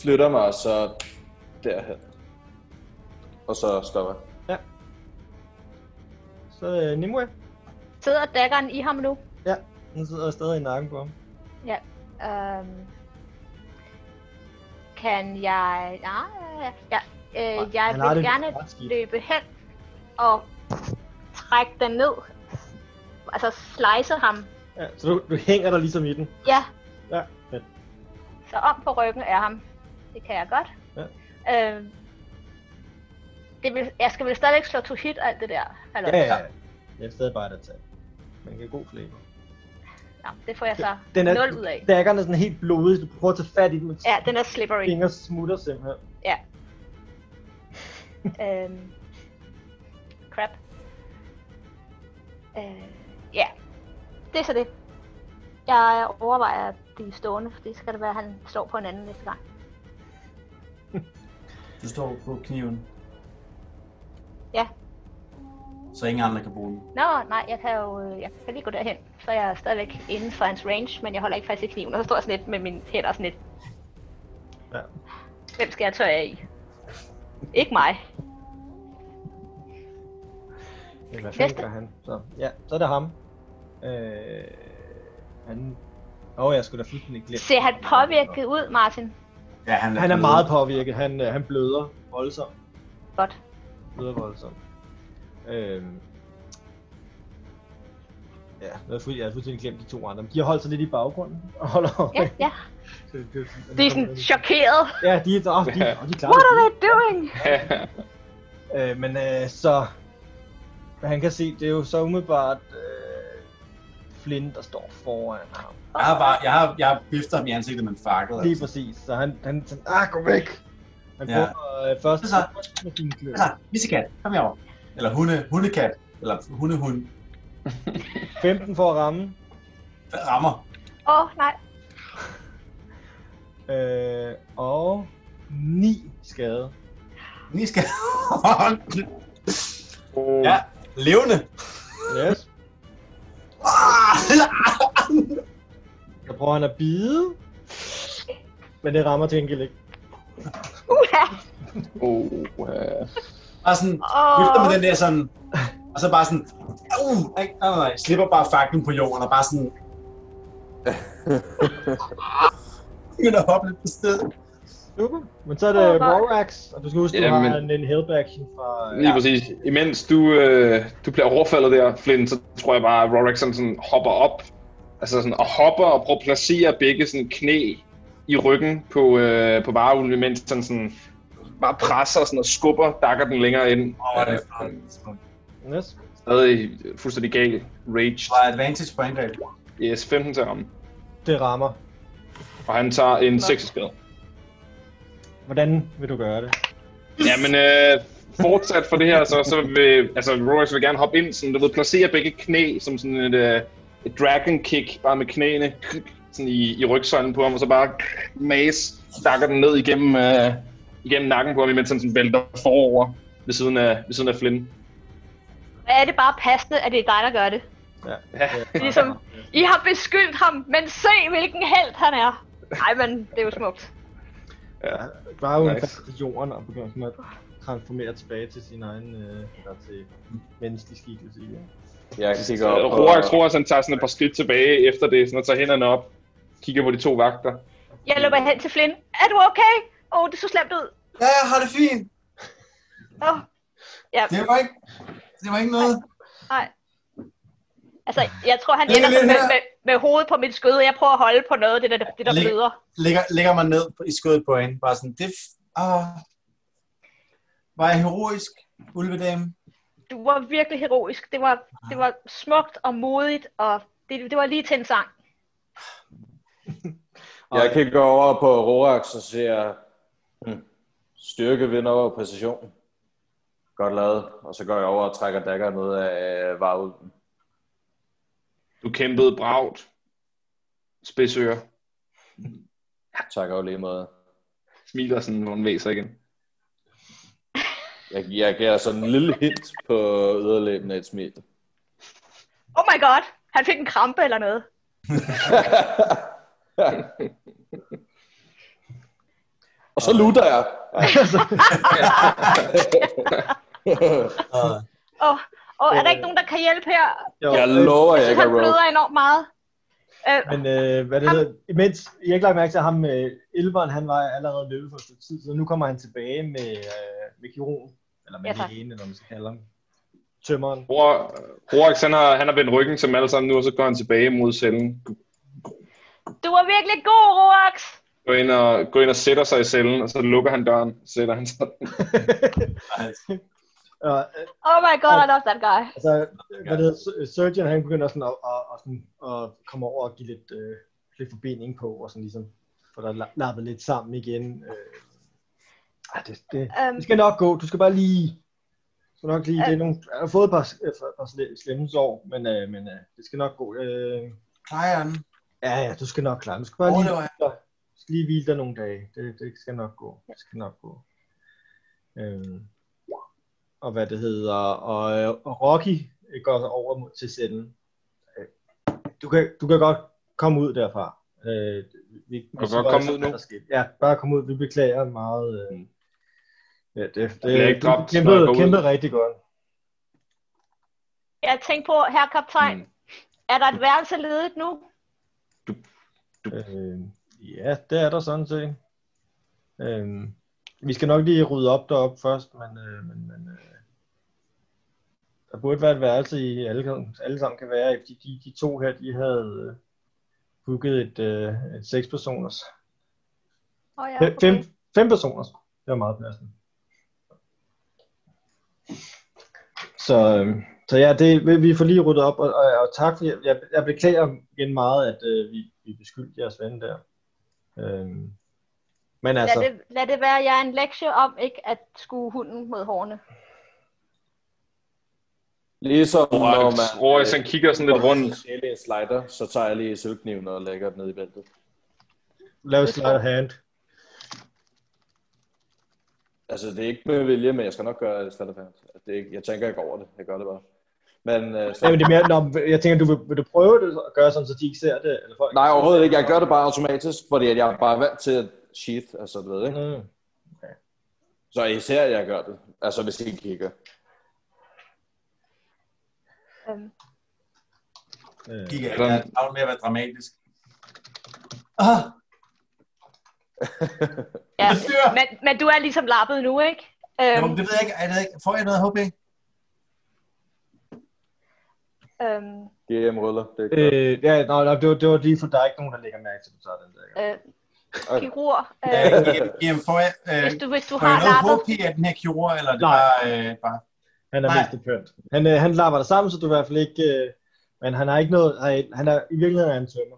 flytter mig så derhen. Og så stopper jeg. Så øh, Nimue, Sidder daggeren i ham nu? den sidder stadig i nakken på ham. Øhm, kan jeg... Ja, ja, ja, øh, jeg Han har vil det gerne ret skidt. løbe hen og trække den ned. Altså slice ham. Ja, så du, du hænger der ligesom i den. Ja, Ja, fedt. så om på ryggen af ham. Det kan jeg godt. Ja. Øhm, det vil, jeg skal vel stadigvæk slå to hit og alt det der. Hallo. Ja, ja, ja. Jeg er stadig bare et attack. Man kan god flæbe. Nå, det får jeg så Den er, 0 ud af. daggerne er sådan helt blodig, så du prøver at tage fat i den, men Ja, den er slippery. fingre smutter simpelthen. Øhm, crap. Øh, ja, det er så det. Jeg overvejer at blive stående, for det skal det være, at han står på en anden næste gang. Du står på kniven. Ja. Så ingen andre kan bruge den. Nå, nej, jeg kan jo øh, jeg kan lige gå derhen, så jeg er stadigvæk inden for hans range, men jeg holder ikke fast i kniven, og så står jeg sådan lidt med mine hænder sådan lidt. Ja. Hvem skal jeg tørre af i? Ikke mig. Ja, hvad Næste. fanden gør han? Så, ja, så er det ham. Øh, han... Åh, oh, jeg skulle da fuldstændig glemt. Ser han påvirket ud, Martin? Ja, han, Han er meget påvirket. Han, øh, han bløder voldsomt. Godt. Bløder voldsomt. Øh, ja, jeg har fuld- jeg har fuldstændig glemt de to andre. Men De har holdt sig lidt i baggrunden. Og holder Ja, ja. Det- det- De er sådan chokeret. Ja, de, er- åh, de, og de klarer What are det. they doing? Øh, men øh, så... Hvad han kan se, det er jo så umiddelbart øh, Flynn, der står foran ham. Jeg har, bare, jeg har, jeg har bifter ham i ansigtet altså. med en fakkel. Lige Altså. præcis. Så han, han sådan, ah, gå væk! Han Ja. ja. prøver øh, først Så- med sine klør. Altså, missekat, kom herover. Eller hunde, hundekat. Eller hundehund. 15 for at ramme. Der rammer. Åh, oh, nej. Øh, og 9 skade. Ni skal... Oh, ja, levende. Yes. Ah! Så prøver han at bide. Men det rammer til gengæld ikke. Uha. oh, uh, Bare sådan, vifter med Åh, den der sådan... Og så bare sådan... Uh, nej, nej, nej, nej. Slipper bare faklen på jorden og bare sådan... Men at hoppe lidt på stedet. Super. Men så er det Åh, nej. Rorax, og du skal huske, du Jamen. har en, en help action fra... lige præcis. Imens du, øh, du bliver overfaldet der, Flynn, så tror jeg bare, at Rorik sådan, sådan hopper op. Altså sådan, og hopper og prøver at placere begge sådan knæ i ryggen på, øh, på varulven, mens han sådan bare presser sådan, og skubber dakker den længere ind. Åh, oh, det er flot. Yes. Stadig fuldstændig gal. Rage. Og advantage på angreb. Yes, 15 til ham. Det rammer. Og han tager en 6 skade. Hvordan vil du gøre det? Jamen, øh, fortsat for det her, så, så vil, altså, Rolex vil gerne hoppe ind, sådan, du ved, placere begge knæ som sådan et, øh, et dragon kick, bare med knæene sådan i, i rygsøjlen på ham, og så bare maze, stakker den ned igennem, øh, igennem nakken på ham, imens han sådan vælter forover ved siden af, ved siden af Flynn. er det bare passende, at det er dig, der gør det? Ja. Ligesom, I har beskyldt ham, men se, hvilken held han er. Nej, men det er jo smukt. Bare hun Nice. nice. til jorden og begynder sådan at transformere tilbage til sin egen, øh, eller til menneskelig skikkelse igen. Jeg kigger op på... Rolex tror, at han tager sådan et par skridt tilbage efter det, sådan, og tager hænderne op, kigger på de to vagter. Jeg løber hen til Flynn. Er du okay? Åh, oh, det så slemt ud. Ja, jeg har det fint. Oh. Ja, Det var ikke, det var ikke noget. nej. Altså, jeg tror, han Det er ender lidt med, her. med, med, hovedet på mit skød, og jeg prøver at holde på noget af det, der, det, der Læg- bløder. Lægger, lægger mig ned på- i skødet på hende. Bare sådan, det, er f- Ah, var jeg heroisk, ulvedame? Du var virkelig heroisk. Det var, det var smukt og modigt, og det, det var lige til en sang. Jeg kan gå over på Rorax og siger, hm, styrke vinder over præcision. Godt lavet. Og så går jeg over og trækker daggeren ud af øh, varulven. Du kæmpede bragt. Spidsører. Tak og i lige måde. Smiler sådan, hvor hun væser igen. Jeg, jeg giver sådan en lille hint på yderlæben af et smil. Oh my god, han fik en krampe eller noget. og så lutter jeg. Ah, Og, og er der ikke nogen, der kan hjælpe her? Jo, Jeg øh, lover, jeg Jeg synes, ikke er han rogue. bløder enormt meget. Øh, Men øh, hvad det Ham- hedder, imens, jeg ikke lagt mærke til at ham, øh, Elveren, han var allerede løbet for et stykke tid, så nu kommer han tilbage med, øh, med Kiron, eller med Ja, ja, tak. Helene, eller hvad man skal kalde ham. Tømmeren. Ror- Rorax, han har, han har vendt ryggen til dem alle sammen nu, og så går han tilbage mod cellen. du var virkelig god, Roax. Går ind og, går ind og sætter sig i cellen, og så lukker han døren. Så sætter han sig. Og, øh, Oh my god, I love that guy. altså, øh, hvad det hedder, Sur- Surgeon, han begynder sådan at, at, at, sådan, at komme over og give lidt, øh, lidt forbinding på, og sådan ligesom, for der la- lappet lidt sammen igen. Øh, ah, det, det, Øhm, det skal nok gå, du skal bare lige, du skal nok lige, Ja. det er nogle, jeg har fået et par, et par- et par sle- slemme sår, men, øh, men øh, det skal nok gå. Øh, Klarer jeg den? Ja, ja, du skal nok klare. det. Du skal bare lige, Overlever jeg? du skal lige hvile dig nogle dage. Det, det skal nok gå. Det skal nok gå. Øhm, og hvad det hedder. Og, øh, og Rocky øh, går så over mod- til cellen. Øh, Du kan, du kan godt komme ud derfra. Øh, vi, vi, kan godt komme ud nu. Mm. Ja, bare kom ud. Vi beklager meget. Øh, ja, det, det, bliver ikke du dræbt, når jeg kæmpede, går ud. kæmpede rigtig godt. jeg tænkte på, herre kaptajn, Mm. er der et værelse ledigt nu? Øh, ja, det er der sådan set. Øh, vi skal nok lige rydde op deroppe først, men, øh, men, men øh, der burde være et værelse, I alle, kan- alle sammen kan være i, fordi de, de to her, de havde øh, booket et, øh, et seks personers. Oh, ja, Fem, fem, fem personers. Det var meget passende. Så, øh, så ja, det, vi- vi får lige ryddet op, og, og, og tak for, jeg, jeg beklager igen meget, at øh, vi, vi beskyldte jeres ven der. Øh, men altså, lad, det, lad det være, jeg er en lektie om ikke at skue hunden mod hårene. Ligesom når Rorax, man... øh, Rorax, han kigger sådan lidt rundt. Stjæle en slider, så tager jeg lige sølvkniven og lægger den ned i bæltet. lav slide hand. Altså, det er ikke med vilje, men jeg skal nok gøre det slider fast. Det er ikke, jeg tænker ikke over det. Jeg gør det bare. Men, øh, Ja, men det er mere, når, jeg tænker, du vil, vil du prøve det og gøre sådan, så de ikke ser det? Eller folk nej, overhovedet ikke. Jeg gør det bare automatisk, fordi at jeg er bare vant til at sheath, altså du ved, ikke? Mm. Så især jeg gør det, altså hvis I kigger. Øhm, Øh, Gik jeg, jeg er travlt med at være dramatisk. Ah, ja. det dør! men, men du er ligesom lappet nu, ikke? Nå, Øhm, men det ved jeg ikke. Ej, det ved jeg ikke. Får jeg noget HP? øhm, GM ruller, det er ikke godt. øh, ja, nej, nej, det, var, det var lige for, der er ikke nogen, der lægger mærke til, at du tager den der. øh, Okay. kirurg, Ja, øh, GM, GM, får jeg, øh, hvis, du, hvis du får har jeg noget lappet. HP af den her kirurg, eller er det Nej. bare... Øh, bare... Han er Nej. mest kønt. Han, øh, han lapper dig sammen, så du i hvert fald ikke... Øh, men han har ikke noget... han- Han er, I virkeligheden er han tømmer.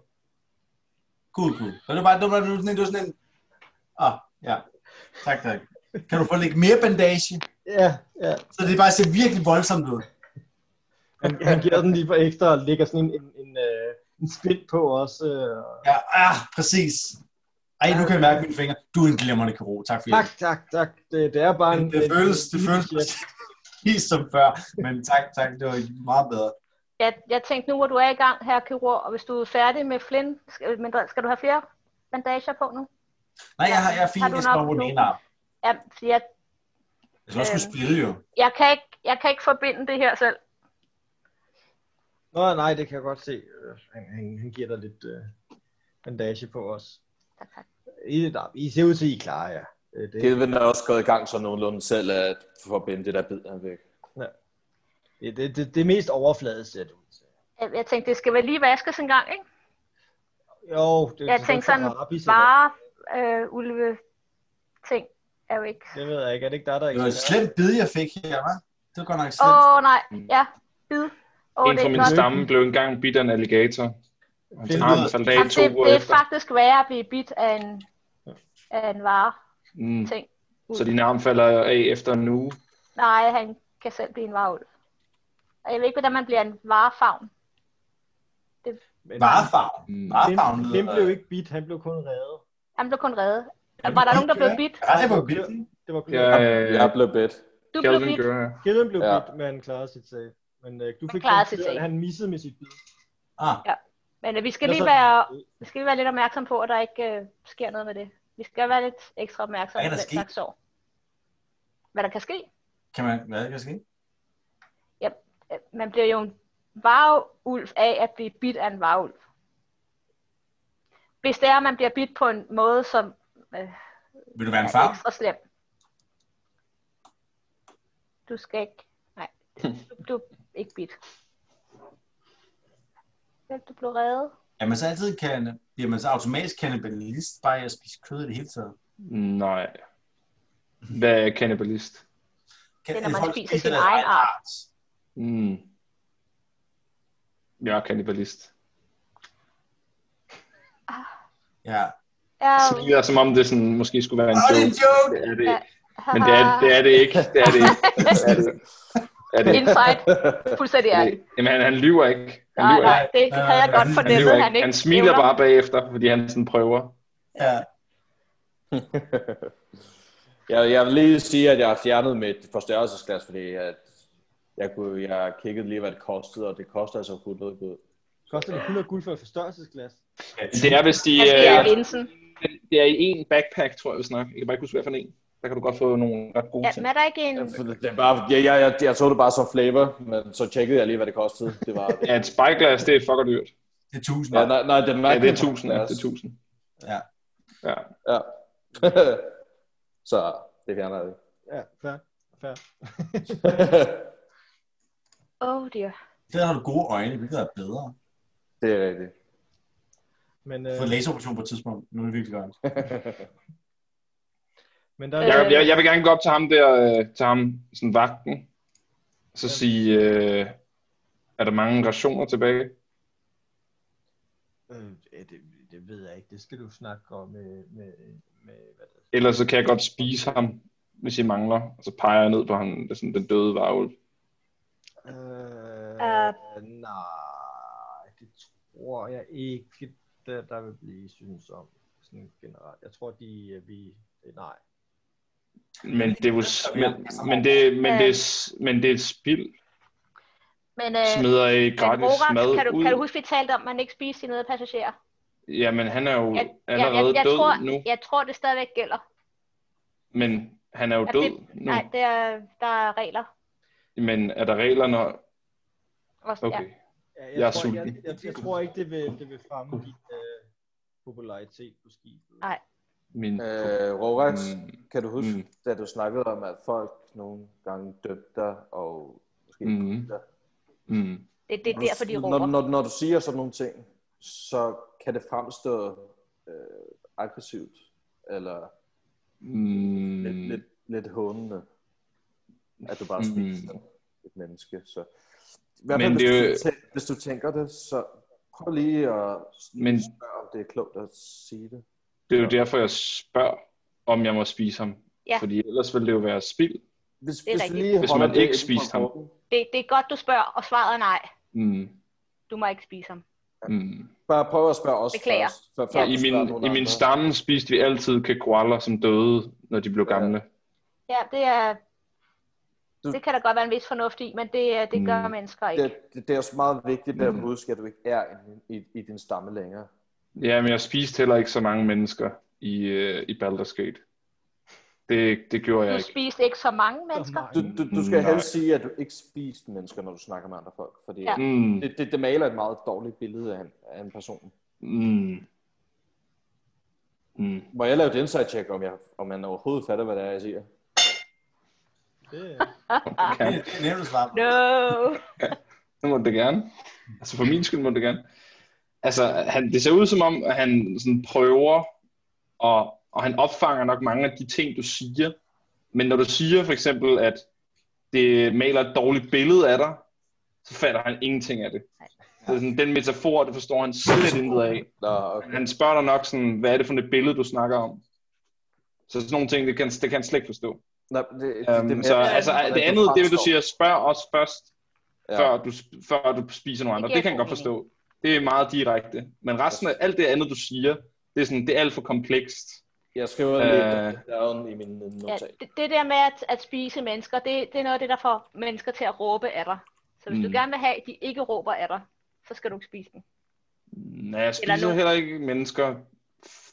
Cool, cool. Så det er bare, det var, det var sådan en, det var sådan en... Ah, ja. Tak, tak. Kan du få lidt mere bandage? Ja, ja. Så det bare ser virkelig voldsomt ud. Han, han giver den lige for ekstra og lægger sådan en, en, en, øh, en spind på også. Øh. Ja, ah, præcis. Ej, nu kan jeg mærke mine fingre. Du er en glimrende kirurg. Tak for Tak, hjælp. tak, tak. Det, det er bare en... Det, det en- føles, en- det føles præcis som før. Men tak, tak. Det var meget bedre. Jeg, jeg tænkte, nu hvor du er i gang, herre kirurg, og hvis du er færdig med Flynn, skal, men der- skal du have flere bandager på nu? Nej, jeg har, jeg er fint. Har du Jeg skal nok bare runde nu? en arm. Ja, fordi jeg, Jeg skal også kunne Øhm. spille jo. jeg, kan ikke, jeg kan ikke forbinde det her selv. Nå, nej, det kan jeg godt se. Øh, Han, han, han giver dig lidt øh, bandage på os. Tak, tak. I, nej, I ser ud til, I klarer jer. Øh, Det, Kelvin er også gået i gang så nogenlunde selv at forbinde det der bid her væk. det, det, det, det er mest overflade, ser det ud til. Jeg, jeg tænkte, det skal vel lige vaskes en gang, ikke? Jo, det, Jeg det- tænkte det er sådan, rabis, eller- Bare øh, ulve ting. er jo ikke. Det ved jeg ikke. Er det ikke dig, der Det var et er slemt bid, jeg fik her, hva'? Det var godt nok Åh slemt. oh, nej, ja, bid. Åh, en fra er min godt. stamme blev engang bidt af en alligator. Han Det lyder- tager en Jamen, soldat to det, uger det er efter. faktisk værre at blive bidt af en, af en vare Mm. ting. Så din arm falder af efter en uge. Nej, han kan selv blive en varulv. Og jeg ved ikke, hvordan man bliver en varefavn. Men Varefarven. Mm. Varefarven Kim, lyder... Kim blev ikke bidt, han blev kun reddet. Han blev kun reddet. Jamen, var der nogen, der blev ja. bidt? Ja, det var bidt. Det var Ja, Gløden. øh, Jeg blev bedt. Du blev Calvin bidt. gør jeg. Kevin blev Ja. bidt, men klarede sit sag. Men øh, du Men fik klarede den sit før, sag. han missede med sit bid. Ah, Men øh, vi skal Nå, lige så- være, vi skal lige være lidt opmærksom på, at der ikke øh, sker noget med det. Vi skal være lidt ekstra opmærksomme på Hvad kan der den ske? slags sår. Hvad der kan ske? kan man... Hvad kan der ske? Øh, Man bliver jo en varulv af at blive bidt af en varulv. Hvis det er, at man bliver bidt på en måde, som øh, Vil du være en er farm? ekstra slem. Du skal ikke... Nej, du, du er ikke bidt. Men Du blev reddet. Ja, man så altid kan... Bliver man så automatisk kannibalist, bare jeg spiser kød i det hele taget? Nej. Hvad er kannibalist? Kan, Det er, når at man folk spiser spiser sin deres egen egen art. art. Mm. Jeg er kannibalist. Ja. Ja, Det lyder som om det sådan, måske skulle være en Åh, det er joke. en joke! Det er det, Ja. ikke. men det er, det er det ikke. Det er det ikke. Det er det, ikke. Det er det, ikke. Insight. Fuldstændig Det er det. ærligt. ikke. Jamen, han, han lyver ikke. Han Nej, lyver ikke. nej, det havde jeg godt Han Han, fornemmet, lyver at han ikke. ikke han smiler evner. bare bagefter, fordi han sådan prøver. ja. jeg, jeg vil lige sige, at jeg har fjernet mit forstørrelsesglas, fordi at jeg, kunne, jeg kiggede lige, hvad det kostede, og det koster altså 100 gud. Koster det 100 guld for et forstørrelsesglas? Det er, hvis de... Han øh, bliver Altså, linsen. det er i en backpack, tror jeg, vi snakker. Jeg kan bare ikke huske, hvad for en. Der kan du godt få nogle ret gode Ja, ting. men er der ikke en... Det er bare, jeg, jeg, jeg, jeg så det bare som flavor, men så tjekkede jeg lige, hvad det kostede. Det var, Ja, et spyglass, det er fucker dyrt. Det er tusind. ja, nej, nej, det Ja, var det er 1000. Ja, det er 1000. Ja. Ja. Ja. så det fjerner jeg ikke. Ja, fair. fair. Oh dear. Der har du gode øjne, hvilket er bedre. det er rigtigt. Men, Jeg øh, får en laseroperation på et tidspunkt. Nu er det virkelig godt. men der Jeg, er Øh. jeg, jeg vil gerne gå op til ham der, øh, til ham, sådan vagten, så sige, øh, er der mange rationer tilbage? øh, ja, det, det, ved jeg ikke. Det skal du snakke om med, med, med hvad det er. Ellers så kan jeg godt spise ham, hvis I mangler. Og så peger jeg ned på ham, det er sådan den døde varvel. Øh, nej, det tror jeg ikke, der, der vil blive synes om sådan generelt. Jeg tror, de øh, vi... Nej. Men det er jo, s- men, men, det, men, det, er, s- men det er spild. Men, øh, Smider I men gratis Morak, mad kan du, ud? kan du huske, vi talte om, at man ikke spiser sine medpassagerer? Jamen, han er jo Jeg- allerede jeg, jeg, død tror, nu. jeg tror, det stadigvæk gælder. Men han er jo Er død det- nu. Nej, det er, der er regler. Men er der regler, når... Også, Okay. ja. Ja, Jeg er tror, jeg, jeg, sulten. jeg, jeg, tror ikke, det vil, det vil fremme din øh, popularitet på skibet. Nej. Min... øh, Rorax, Mm. kan du huske, Mm. mm. da du snakkede om, at folk nogle gange dømte dig, og måske Mm. mm. dig? Mm. Det, det er derfor, de når, råber. når, når du siger sådan nogle ting, så kan det fremstå øh, aggressivt, eller Mm. lidt, lidt, lidt hånende, at du bare Mm. spiser et menneske. Så, I hvert Men fald, hvis, det er du, jo- tæ- hvis du tænker det, så prøv lige at Men- Men... spørge, om det er klogt at sige det. Det er jo derfor, jeg spørger, om jeg må spise ham. Ja. Fordi ellers ville det jo være spild. Hvis, Det er hvis, vi rigtigt. lige Hvis holder man det ikke inden for spiste ham. kroppen, Det, det er godt, du spørger, og svaret er nej. Mm. Du må ikke spise ham. Mm. Bare prøv at spørge os Beklager. først. Før, Ja. før I du spørger min, nogen I min andre. stamme spiste vi altid kekwaller, som døde, når de blev Ja. gamle. Ja, det er... Du- Det kan der godt være en vis fornuft i, men det, øh, det gør Mm. mennesker ikke. Det, det, det er også meget vigtigt at Mm. huske, at du ikke er i, i, i din stamme længere. Ja, men jeg spiste heller ikke så mange mennesker i, øh, i Baldur's Gate. Det, det gjorde jeg Du ikke. spiste ikke så mange mennesker. Du, du, du skal Mm, Nej. helst sige, at du ikke spiser mennesker, når du snakker med andre folk, fordi Ja. ja. Mm. det, det, det maler et meget dårligt billede af en, af en person. Mm. Mm. Må jeg lave et insight check, om jeg, om man overhovedet fatter, hvad det er, jeg siger? Det, Det Ah. Okay. er- det er nemt at svare på. No! Det må det gerne. Altså for min skyld må det gerne. Altså, han, det ser ud som om, at han sådan prøver at, og han opfanger nok mange af de ting, du siger. Men når du siger for eksempel, at det maler et dårligt billede af dig, så fatter han ingenting af det. Så sådan, den metafor, det forstår han slet intet af. Nå, okay. Men Han spørger dig nok sådan, hvad er det for et billede, du snakker om? Så sådan nogle ting, det kan, det kan han slet ikke forstå. Nå, det, det, det, Um, det, så altså, det andet, det vil du siger, spørg os først, Ja. ja. før, du, før du spiser noget andet. giver Det kan jeg god godt forstå. Det er meget direkte. Men resten af alt det andet, du siger, det er, sådan, det er alt for komplekst. Jeg skriver Øh. lidt down i min Ja, notat. det, det der med at, at spise mennesker, det, det er noget af det, der får mennesker til at råbe af dig. Så hvis mm. Mm. du gerne vil have, at de ikke råber af dig, så skal du ikke spise dem. Nej, jeg Eller spiser nu. heller ikke mennesker,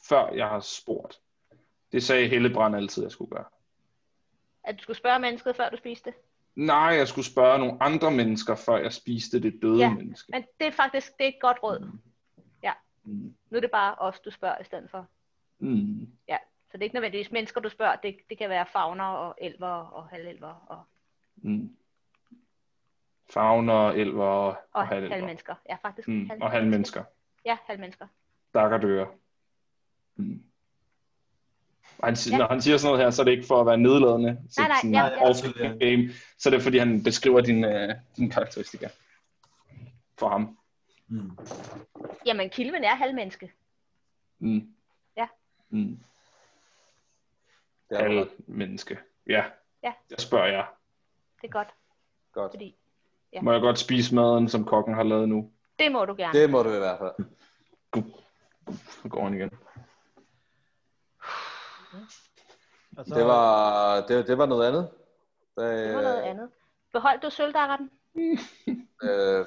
før jeg har spurgt. Det sagde Hellebrand altid, jeg skulle gøre. At du skulle spørge mennesket, før du spiste det. Nej, jeg skulle spørge nogle andre mennesker, før jeg spiste det døde Ja. ja. menneske. Men det er faktisk det er et godt råd. Mm. Nu er det bare os, du spørger i stedet for. Mm. Så det er ikke nødvendigvis mennesker, du spørger. Det, det kan være fagner og elver og halvelver og, Mm. Fagner, elver og, og og halvelver. halvmennesker. Ja, faktisk. Mm. halv- Og halvmennesker. Ja, halvmennesker. Dakker døre. Mm. Og han, si- Ja. Når han siger sådan noget her, så er det ikke for at være nedladende. Så Nej, nej, sådan, ja, ja. off game, så er det fordi, han beskriver dine øh, din karakteristikker for ham. Mm. Jamen, kilven er halvmenneske. Mm. Ja. Mm. Det er Alle ret menneske. Ja. Ja. Jeg spørger jer. Det er godt, godt. fordi Ja. Må jeg godt spise maden, som kokken har lavet nu? det må du gerne. Det må du i hvert fald. Så går han igen. Og så- Det var, det, det var noget andet. Øh, Det, Det var noget andet. Beholdt du sølvdakkeren? Øh,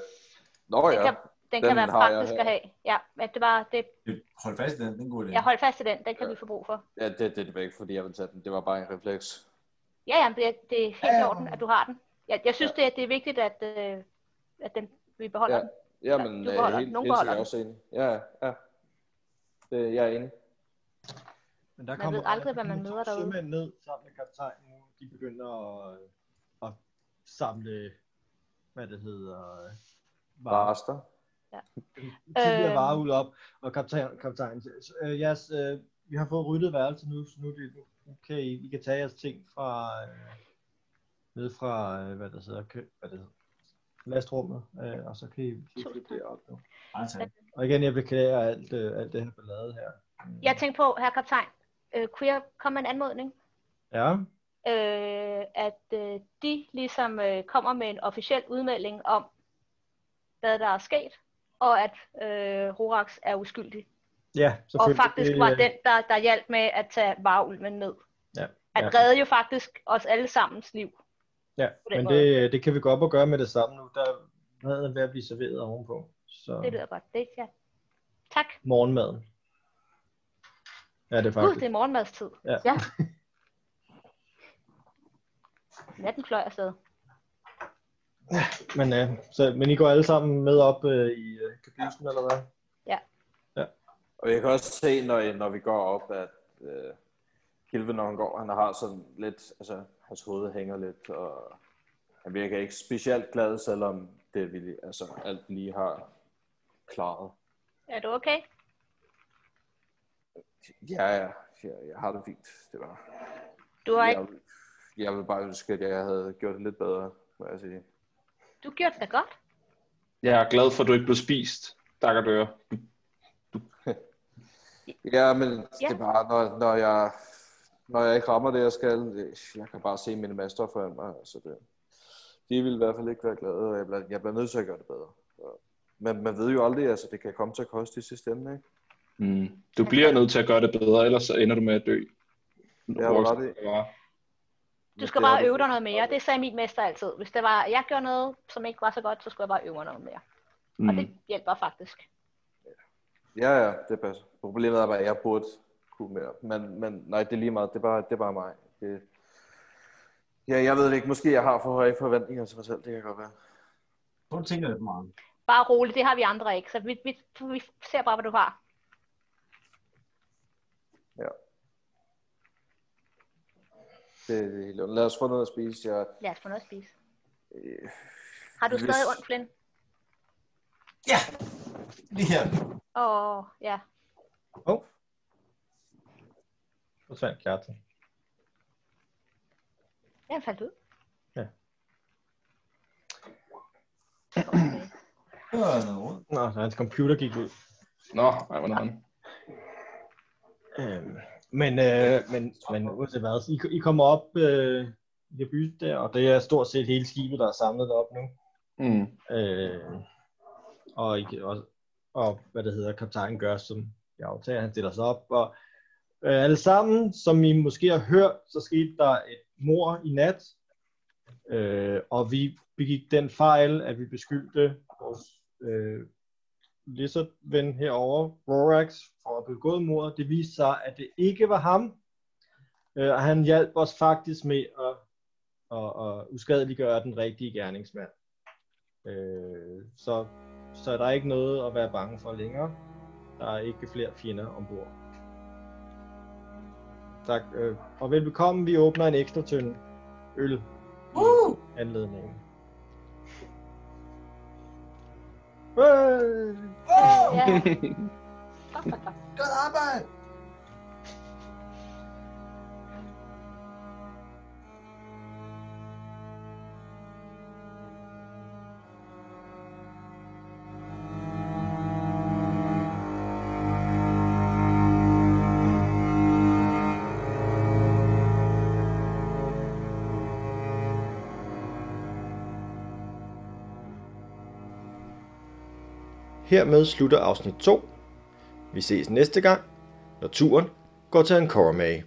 nå Den ja. kan, den kan den være har jeg praktisk her. at have. Ja, men det var, det, Hold fast i den, det er en god idé. jeg holdt fast i den. Den Ja. kan vi få brug for. ja det, det, det var ikke, fordi jeg ville tage den. Det var bare en refleks. Ja, ja, men det, det er helt i orden, at du har den. Jeg, jeg synes, det, er, det er vigtigt, at, øh, at den, vi beholder Ja. den. Jamen, Du øh, beholder- helt, nogen helt beholder sikkert også enig. Ja, ja, ja. Det, jeg er enig. Men der Man kommer ved aldrig, hvad der man kommer møder to derude. Sømænd ned sammen med kaptajnen, de begynder at, øh, at samle, hvad det hedder, øh, varer, Barster. tidligere Øh. varehul op, og kaptajn, kaptajnen siger, "Så, øh, jeres, øh, vi har fået ryddet værelset nu, så nu, er det, nu kan I, I kan tage jeres ting fra, øh, ned fra, øh, hvad der hedder, kø, hvad det hedder, lastrummet, øh, og så kan I, kan I flytte det op nu. Bare tag. Og igen, jeg beklager alt, øh, alt det her ballade her. Mm. Jeg tænkte på, herre kaptajn, øh, kunne jeg komme med en anmodning? Ja, Øh, at øh, de ligesom øh, kommer med en officiel udmelding om, hvad der er sket, og at øh, Rorax er uskyldig. ja, Og selvfølgelig. faktisk Det, var øh, den, der, der hjalp med at tage varulven ned. Ja, Han ja. redde jo faktisk os alle sammens liv. Ja, på den men måde. det, det kan vi gå op og gøre med det samme nu. Der er maden ved at blive serveret ovenpå. Så Det lyder godt. Det, ja. Tak. morgenmaden. Ja, det er Gud, det faktisk. er morgenmadstid. Ja. ja. Natten fløj afsted. Men, øh, så, men I går alle sammen med op øh, i øh, kabysen, eller hvad? Og jeg kan også se, når, når vi går op, at øh, Gilve, når han går, han har sådan lidt, altså hans hoved hænger lidt, og han virker ikke specielt glad, selvom det vi, lige- altså, alt lige har klaret. Er du okay? Ja, ja, jeg, jeg har det fint, det var. Du, har ikke, Jeg, jeg ville bare ønske, at jeg havde gjort det lidt bedre, må jeg sige. du gjorde det da godt. Jeg er glad for, at du ikke blev spist. Dakker døre. Ja, men Ja. ja. det er bare, når, når, jeg, når jeg ikke rammer det, jeg skal, øh, jeg kan bare se mine master foran mig. Altså det, de vil i hvert fald ikke være glade, og jeg bliver, jeg bliver nødt til at gøre det bedre. Så, men man ved jo aldrig, altså det kan komme til at koste i sidste ende, ikke? Mm. Du bliver nødt til at gøre det bedre, ellers så ender du med at dø. Ja, hvor var det? Du skal Det er bare det. øve dig noget mere. Det sagde min mester altid. Hvis det var, jeg gjorde noget, som ikke var så godt, så skulle jeg bare øve mig noget mere. Mm. Og Mm. det hjælper faktisk. Ja, ja, det passer. Problemet er bare, at jeg burde kunne mere. Men, men nej, det er lige meget. Det er bare, det er bare mig. Det, ja, jeg ved det ikke. Måske jeg har for høje forventninger til mig selv. Det kan godt være. Prøv at tænke lidt meget. Bare roligt, det har vi andre ikke. Så vi, vi, vi ser bare, hvad du har. Det, det er helt ondt. Lad os få noget at spise. Jeg, Lad os få noget at spise. øh, Har du Hvis- stadig ondt, Flynn? Ja, lige her. Åh, ja. Hov. forsvandt Kjartan. Jeg faldt ud. Det var noget råd. Nå, så hans computer gik ud. Nå, ej, hvor nøjeren. Øhm, men, øh, men, men uanset hvad, så I, I kommer op øh, i det by der, og det er stort set hele skibet, der er samlet op nu. Mm. Øh, og, I, kan også, og hvad det hedder, kaptajnen gør, som jeg aftager, han stiller sig op. Og øh, alle sammen, som I måske har hørt, så skete der et mor i nat. Øh, og vi begik den fejl, at vi beskyldte vores øh, lizardven herovre, Rorax, for at begå mordet. Det viste sig, at det ikke var ham. Øh, og han hjalp os faktisk med at, at, at uskadeliggøre den rigtige gerningsmand. Øh, så, så der er ikke noget at være bange for længere. Der er ikke flere fjender ombord. Tak, øh, og velbekomme. Vi åbner en ekstra tynd øl i Uh! anledningen. Øh! Wow! Ja. Godt arbejde! Hermed slutter afsnit 2. Vi ses næste gang, når turen går til Ankormage.